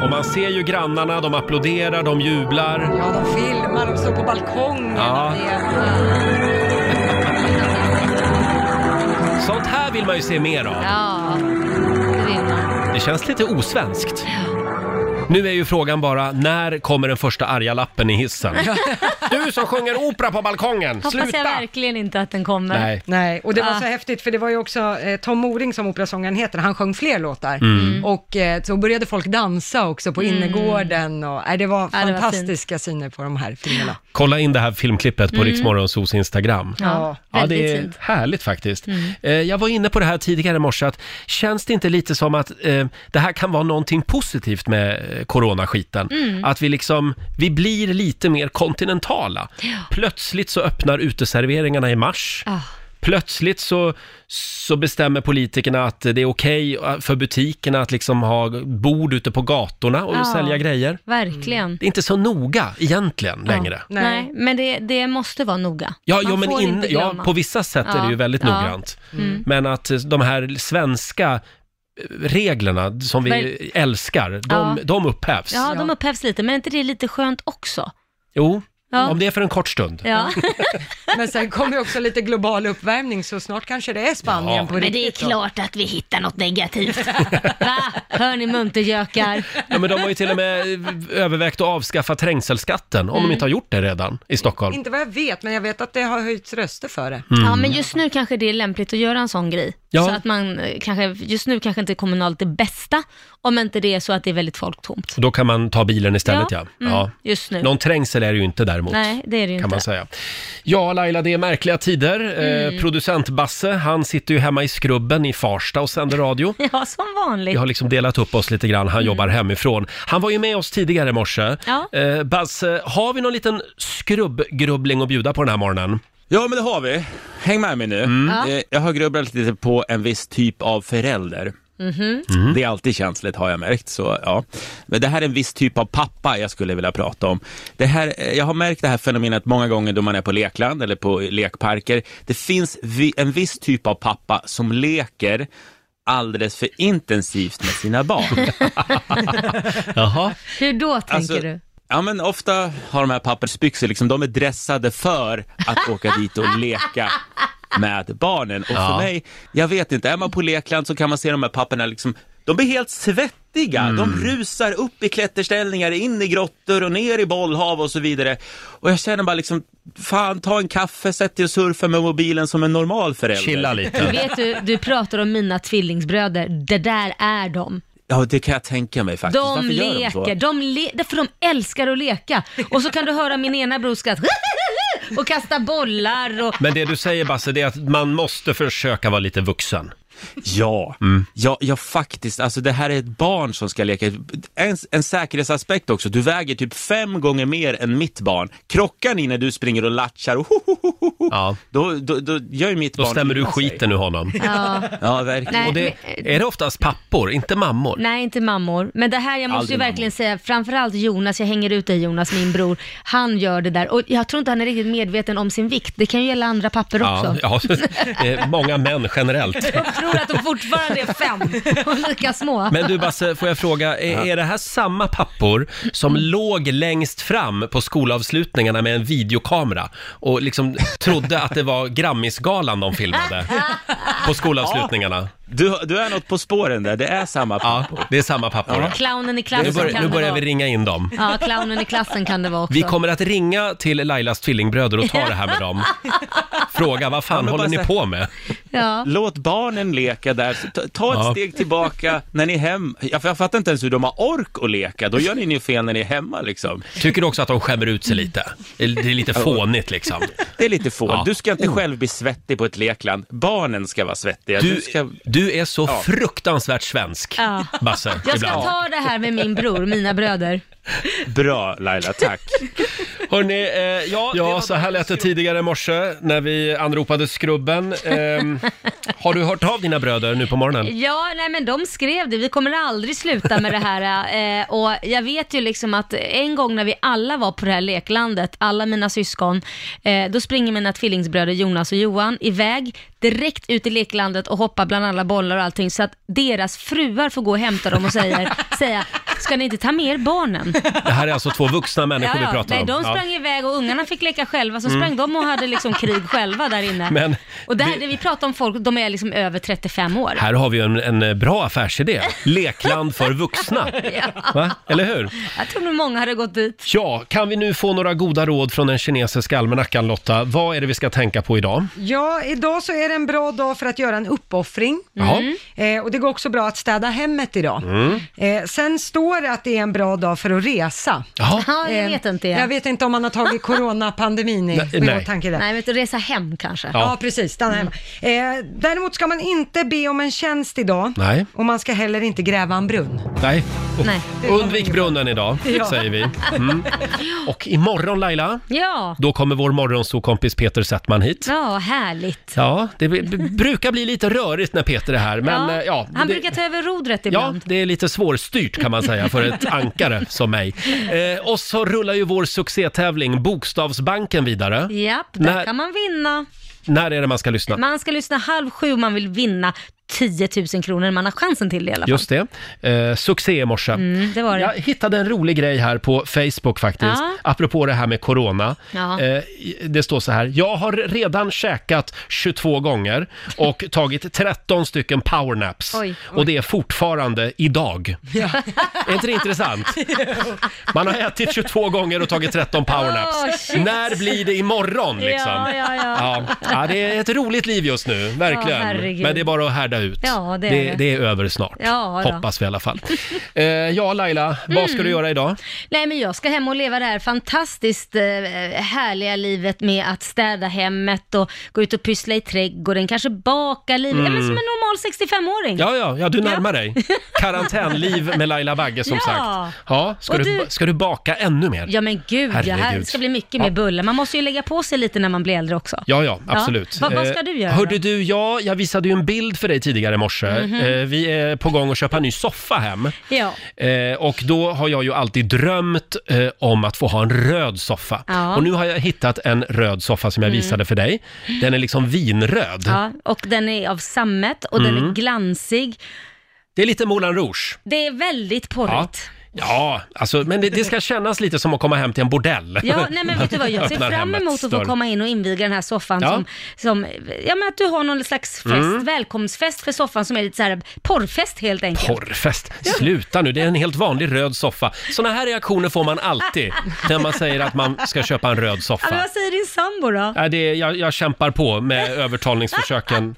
Speaker 1: Och man ser ju grannarna, de applåderar, de jublar.
Speaker 3: Ja, de filmar, de står på balkongen.
Speaker 1: Ja.
Speaker 3: Det är-
Speaker 1: Sånt här vill man ju se mer av.
Speaker 2: Ja, det vill man.
Speaker 1: Det känns lite osvenskt. Nu är ju frågan bara, när kommer den första arga lappen i
Speaker 2: [LAUGHS]
Speaker 1: hissen? Du som sjunger opera på balkongen,
Speaker 2: Hoppas jag
Speaker 1: sluta!
Speaker 2: verkligen inte att den kommer.
Speaker 1: Nej.
Speaker 3: Nej, och det var
Speaker 2: Ah.
Speaker 3: så häftigt för det var ju också eh, Tom Moring som operasångaren heter, han sjöng fler låtar.
Speaker 1: Mm.
Speaker 3: Och eh, så började folk dansa också på
Speaker 2: Mm.
Speaker 3: innergården och nej, det var
Speaker 2: Ja, det var
Speaker 3: fantastiska syner på de här filmerna.
Speaker 1: Kolla in det här filmklippet på
Speaker 3: Mm.
Speaker 1: Riksmorgonsos Instagram.
Speaker 3: Ja,
Speaker 1: ja det
Speaker 3: väldigt
Speaker 1: är
Speaker 3: fint.
Speaker 1: härligt faktiskt.
Speaker 3: Mm.
Speaker 1: Eh, Jag var inne på det här tidigare i morse, att känns det inte lite som att eh, det här kan vara någonting positivt med eh, coronaskiten?
Speaker 2: Mm.
Speaker 1: Att vi liksom, vi blir lite mer kontinentala. Plötsligt så öppnar uteserveringarna i mars.
Speaker 2: Ah.
Speaker 1: Plötsligt så, så bestämmer politikerna att det är okej eh, för butikerna att liksom ha bord ute på gatorna och
Speaker 2: Ja.
Speaker 1: sälja grejer.
Speaker 2: Verkligen.
Speaker 1: Det är inte så noga egentligen längre.
Speaker 2: Mm. Nej. men det, det måste vara noga.
Speaker 1: Ja,
Speaker 2: Man
Speaker 1: ja, men
Speaker 2: får
Speaker 1: in,
Speaker 2: inte
Speaker 1: ja,
Speaker 2: glömma.
Speaker 1: på vissa sätt är det ju
Speaker 2: Ja,
Speaker 1: väldigt
Speaker 2: ja.
Speaker 1: noggrant.
Speaker 2: Mm.
Speaker 1: Men att eh, de här svenska eh, reglerna som vi
Speaker 2: Ver-
Speaker 1: älskar, de,
Speaker 2: Ja.
Speaker 1: de upphävs.
Speaker 2: Ja, de upphävs lite, men är inte det lite skönt också?
Speaker 1: Jo,
Speaker 2: Ja.
Speaker 1: om det är för en kort stund.
Speaker 2: Ja. [LAUGHS]
Speaker 3: Men sen kommer ju också lite global uppvärmning så snart kanske det är Spanien
Speaker 1: Ja.
Speaker 3: på
Speaker 1: Men
Speaker 2: Men
Speaker 3: riktigt.
Speaker 2: det är
Speaker 3: då.
Speaker 2: klart att vi hittar något negativt. [LAUGHS] Va? Hör ni muntergökar?
Speaker 1: Ja, men de har ju till och med eh, övervägt att avskaffa trängselskatten, om
Speaker 2: Mm.
Speaker 1: de inte har gjort det redan i Stockholm.
Speaker 3: Inte vad jag vet, men jag vet att det har höjts röster för det.
Speaker 1: Mm.
Speaker 2: Ja, men just nu kanske det är lämpligt att göra en sån grej.
Speaker 1: Ja.
Speaker 2: Så att man eh, kanske, just nu kanske inte kommunalt det bästa, om inte det är så att det är väldigt folktomt.
Speaker 1: Då kan man ta bilen istället ja.
Speaker 2: Mm,
Speaker 1: ja.
Speaker 2: Just nu.
Speaker 1: Någon trängsel är det ju inte däremot.
Speaker 2: Nej, det är det ju
Speaker 1: kan
Speaker 2: inte.
Speaker 1: man säga. Ja, Laila, det är märkliga tider.
Speaker 2: Mm.
Speaker 1: Eh, producent Basse, han sitter ju hemma i skrubben i Farsta och sänder radio.
Speaker 2: Ja, som vanligt.
Speaker 1: Vi har liksom delat upp oss lite grann. Han jobbar hemifrån. Han var ju med oss tidigare i morse.
Speaker 2: Mm. Ja.
Speaker 1: Eh, Basse, har vi någon liten skrubbgrubbling att bjuda på den här morgonen?
Speaker 7: Ja, men det har vi. Häng med mig nu.
Speaker 2: Ja.
Speaker 7: Eh, Jag har grubblat lite på en viss typ av förälder.
Speaker 2: Mhm.
Speaker 7: Det är alltid känsligt har jag märkt. Så, ja. Men det här är en viss typ av pappa jag skulle vilja prata om. Det här, eh, jag har märkt det här fenomenet många gånger då man är på lekland eller på lekparker. Det finns vi, en viss typ av pappa som leker alldeles för intensivt med sina barn.
Speaker 1: [LAUGHS] Jaha.
Speaker 2: Hur då tänker
Speaker 7: Alltså,
Speaker 2: du?
Speaker 7: Ja men ofta har de här pappersbyxor, liksom, de är dressade för att åka dit och leka med barnen. Och
Speaker 1: Ja.
Speaker 7: för mig, jag vet inte, är man på lekland så kan man se de här papperna liksom, de blir helt svettiga,
Speaker 1: Mm.
Speaker 7: de rusar upp i klätterställningar, in i grottor och ner i bollhav och så vidare. Och jag känner bara liksom, fan ta en kaffe, sätt dig och surfa med mobilen som en normal förälder.
Speaker 1: Chilla lite.
Speaker 2: Vet du, du pratar om mina tvillingsbröder. Det där är de.
Speaker 7: Ja det kan jag tänka mig faktiskt.
Speaker 2: De
Speaker 7: Varför gör de så?
Speaker 2: leker, de le- därför de älskar att leka. Och så kan du höra min ena bror skratta och kasta bollar och...
Speaker 1: Men det du säger Basse, det är att man måste försöka vara lite vuxen.
Speaker 7: Ja,
Speaker 1: Mm.
Speaker 7: ja, ja faktiskt. Alltså det här är ett barn som ska leka. En, en säkerhetsaspekt också. Du väger typ fem gånger mer än mitt barn. Krockar ni när du springer och latchar, och ho, ho, ho, ho, ho,
Speaker 1: Ja.
Speaker 7: då, då, då gör ju mitt
Speaker 1: Då
Speaker 7: barn
Speaker 1: stämmer du
Speaker 7: illa sig.
Speaker 1: skiten ur honom.
Speaker 2: Ja.
Speaker 7: Ja, verkligen.
Speaker 2: Nej,
Speaker 1: Och det,
Speaker 2: men-
Speaker 1: är det oftast pappor, inte mammor?
Speaker 2: Nej, inte mammor. Men det här, jag måste
Speaker 1: Aldrig
Speaker 2: ju
Speaker 1: mammor.
Speaker 2: verkligen säga, framförallt Jonas, jag hänger ut dig Jonas, min bror, han gör det där. Och jag tror inte han är
Speaker 1: [LAUGHS]
Speaker 2: riktigt medveten om sin vikt. Det kan ju gälla andra papper också.
Speaker 1: Ja, ja. Eh, många män generellt.
Speaker 2: tror att de fortfarande är fem och lika små.
Speaker 1: Men du Basse, får jag fråga, är, är det här samma pappor som
Speaker 2: Mm.
Speaker 1: låg längst fram på skolavslutningarna med en videokamera och liksom trodde att det var Grammisgalan de filmade på skolavslutningarna?
Speaker 7: Du, du är något på spåren där, det är samma pappor.
Speaker 1: Ja, det är samma pappor.
Speaker 2: Clownen i klassen
Speaker 1: Nu börjar,
Speaker 2: kan
Speaker 1: nu
Speaker 2: det
Speaker 1: börjar
Speaker 2: vara.
Speaker 1: vi ringa in dem.
Speaker 2: Ja, clownen i klassen kan det vara också.
Speaker 1: Vi kommer att ringa till Lailas tvillingbröder och ta det här med dem. Fråga, vad fan
Speaker 7: men
Speaker 1: håller
Speaker 7: bara
Speaker 1: ni
Speaker 7: så-
Speaker 1: på med?
Speaker 2: Ja.
Speaker 7: Låt barnen leka där, Så ta, ta ett
Speaker 1: Ja.
Speaker 7: steg tillbaka när ni är hem. Jag, jag fattar inte ens hur de har ork att leka, då gör ni ju fel när ni är hemma liksom.
Speaker 1: Tycker du också att de skämmer ut
Speaker 2: Mm.
Speaker 1: sig lite? Det är lite fånigt liksom.
Speaker 7: Det är lite fånigt.
Speaker 1: Ja. Oh.
Speaker 7: Du ska inte själv bli svettig på ett lekland, barnen ska vara svettiga.
Speaker 1: Du-
Speaker 7: ska...
Speaker 1: du är så fruktansvärt svensk,
Speaker 2: Ja.
Speaker 1: Basse,
Speaker 2: Jag ska
Speaker 1: ibland.
Speaker 2: ta det här med min bror, mina bröder.
Speaker 7: Bra Laila, tack.
Speaker 1: Hörrni, eh, ja, så här lät det tidigare i morse när vi anropade Skrubben. Ehm, [LAUGHS] har du hört av dina bröder nu på morgonen?
Speaker 2: Ja, nej men de skrev det. Vi kommer aldrig sluta med
Speaker 1: [LAUGHS]
Speaker 2: det här. Eh, och jag vet ju liksom att en gång när vi alla var på det här leklandet, alla mina syskon, eh, då springer mina tvillingsbröder Jonas och Johan iväg direkt ut i leklandet och hoppar bland alla bollar och allting så att deras fruar får gå och hämta dem
Speaker 1: [LAUGHS]
Speaker 2: och säger, säga, ska ni inte ta med er barnen?
Speaker 1: Det här är alltså två vuxna människor vi pratar
Speaker 2: Nej,
Speaker 1: om.
Speaker 2: de sprang
Speaker 1: Ja.
Speaker 2: iväg och ungarna fick leka själva, så
Speaker 1: Mm.
Speaker 2: sprang de och hade liksom krig själva där inne.
Speaker 1: Men
Speaker 2: och där, vi pratar om folk, de är liksom över 35 år.
Speaker 1: Här har vi ju en, en bra affärsidé. Lekland för [LAUGHS] vuxna.
Speaker 2: Ja.
Speaker 1: Va? Eller hur?
Speaker 2: Jag tror nog många hade gått dit.
Speaker 1: Ja, kan vi nu få några goda råd från den kinesiska almanackan Lotta? Vad är det vi ska tänka på idag?
Speaker 3: Ja, idag så är det en bra dag för att göra en uppoffring.
Speaker 1: Jaha. Mm.
Speaker 3: Eh, och det går också bra att städa hemmet idag.
Speaker 1: Mm.
Speaker 3: Eh, sen står det att det är en bra dag för att resa.
Speaker 1: Jaha.
Speaker 2: Jaha, jag
Speaker 3: Eh,
Speaker 2: vet inte.
Speaker 3: Jag vet inte om man
Speaker 2: [LAUGHS]
Speaker 3: har tagit coronapandemin i,
Speaker 1: Nej,
Speaker 3: i
Speaker 1: nej.
Speaker 3: åtanke där.
Speaker 2: Nej, men att resa hem kanske.
Speaker 3: Ja, precis. Stanna hemma. Eh, däremot ska man inte be om en tjänst idag.
Speaker 1: Mm. Nej.
Speaker 3: Och man ska heller inte gräva en brunn.
Speaker 1: Nej.
Speaker 2: Nej.
Speaker 1: Undvik brunnen [LAUGHS] idag,
Speaker 3: Ja.
Speaker 1: säger vi. [LAUGHS] Mm. Och imorgon Laila,
Speaker 2: Ja.
Speaker 1: då kommer vår morgonsokompis Peter Settman hit.
Speaker 2: Ja, härligt.
Speaker 1: Ja, det b- b- brukar bli lite rörigt när Peter är här, men ja, ja
Speaker 2: Han
Speaker 1: det,
Speaker 2: brukar ta över rodret
Speaker 1: Ja,
Speaker 2: ibland.
Speaker 1: det är lite svårstyrt kan man säga för ett ankare som mig. Eh, och så rullar ju vår succétävling Bokstavsbanken vidare.
Speaker 2: Japp, där
Speaker 1: När-
Speaker 2: kan man vinna.
Speaker 1: När är det man ska lyssna?
Speaker 2: Man ska lyssna halv sju om man vill vinna 10 000 kronor. Man har chansen till det i alla fall.
Speaker 1: Just det. Eh, succé i morse.
Speaker 2: Mm, det var det.
Speaker 1: Jag hittade en rolig grej här på Facebook faktiskt,
Speaker 2: Ja.
Speaker 1: apropå det här med corona.
Speaker 2: Ja.
Speaker 1: Eh, det står så här, jag har redan käkat 22 gånger
Speaker 2: [LAUGHS]
Speaker 1: och tagit 13 stycken powernaps.
Speaker 2: Oj.
Speaker 1: Och det är fortfarande idag. Är inte det
Speaker 2: [LAUGHS]
Speaker 1: intressant? Man har ätit 22 gånger och tagit 13 powernaps.
Speaker 2: Åh, shit.
Speaker 1: När blir det imorgon liksom?
Speaker 2: Ja, ja, ja.
Speaker 1: Ja. Ja, det är ett roligt liv just nu,
Speaker 2: Ja,
Speaker 1: verkligen.
Speaker 2: herregud.
Speaker 1: Men det är bara att härda ut.
Speaker 2: Ja, det är
Speaker 1: det,
Speaker 2: det.
Speaker 1: det är över snart.
Speaker 2: Ja, då.
Speaker 1: Hoppas vi i alla fall. Eh, ja, Laila, vad ska
Speaker 2: Mm.
Speaker 1: du göra idag?
Speaker 2: Nej, men jag ska hem och leva det här fantastiskt eh, härliga livet med att städa hemmet och gå ut och pyssla i trädgården, kanske baka livet,
Speaker 1: Mm.
Speaker 2: mm. men som en normal 65-åring.
Speaker 1: Ja, ja, ja du närmar dig. Karantänliv med Laila Bagge som
Speaker 2: Ja.
Speaker 1: sagt. Ja, ska,
Speaker 2: Och
Speaker 1: du...
Speaker 2: du-
Speaker 1: ska du baka ännu mer?
Speaker 2: Ja men gud, ja, här
Speaker 1: Herregud.
Speaker 2: det ska bli mycket
Speaker 1: Ja.
Speaker 2: mer bullar. Man måste ju lägga på sig lite när man blir äldre också.
Speaker 1: Ja, ja, absolut.
Speaker 2: Vad- vad
Speaker 1: Eh,
Speaker 2: ska du göra
Speaker 1: Hörde du, ja, jag visade ju en bild för dig tidigare i morse.
Speaker 2: Mhm.
Speaker 1: Eh, Vi är på gång att köpa en ny soffa hem.
Speaker 2: Ja.
Speaker 1: Eh, och då har jag ju alltid drömt eh, om att få ha en röd soffa.
Speaker 2: Ja.
Speaker 1: Och nu har jag hittat en röd soffa som jag
Speaker 2: Mm.
Speaker 1: visade för dig. Den är liksom vinröd.
Speaker 2: ja. Och den är av sammet och den
Speaker 1: Mm.
Speaker 2: är glansig.
Speaker 1: Det är lite Moulin Rouge.
Speaker 2: Det är väldigt
Speaker 1: Ja.
Speaker 2: porrigt.
Speaker 1: Ja, alltså, men det, det ska kännas lite som att komma hem till en bordell.
Speaker 2: Ja, nej men vet du vad, jag ser
Speaker 1: Öppnar
Speaker 2: fram
Speaker 1: hemmets
Speaker 2: emot att få
Speaker 1: dörr.
Speaker 2: komma in och inviga den här soffan
Speaker 1: Ja.
Speaker 2: som, som, ja men att du har någon slags fest,
Speaker 1: Mm.
Speaker 2: välkomstfest för soffan som är lite så här porrfest helt enkelt.
Speaker 1: Porrfest. Sluta nu, det är en helt vanlig röd soffa. Såna här reaktioner får man
Speaker 2: [LAUGHS]
Speaker 1: alltid när man säger att man ska köpa en röd
Speaker 2: Ja, men
Speaker 1: soffa.
Speaker 2: vad säger din sambo då?
Speaker 1: Ja, det är, jag, jag kämpar på
Speaker 2: [LAUGHS]
Speaker 1: med övertalningsförsöken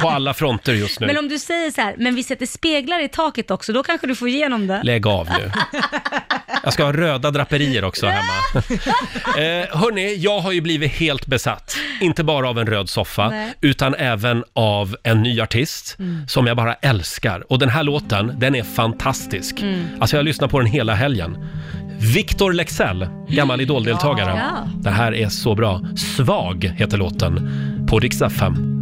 Speaker 1: på alla fronter just
Speaker 2: Men
Speaker 1: nu.
Speaker 2: om du säger så här, men vi sätter speglar i taket också, då kanske du får igenom det.
Speaker 1: Lägg av nu. Jag ska ha röda draperier
Speaker 9: [LAUGHS]
Speaker 1: också hemma. Eh, hörni, jag har ju blivit helt besatt. Inte bara av en röd soffa,
Speaker 9: Nej.
Speaker 1: utan även av en ny artist
Speaker 9: Mm.
Speaker 1: som jag bara älskar. Och den här låten, den är fantastisk.
Speaker 9: Mm.
Speaker 1: Alltså jag har lyssnat på den hela helgen. Victor Lexell, gammal idoldeltagare.
Speaker 9: Ja.
Speaker 1: Det här är så bra. Svag heter låten på Riksaffären.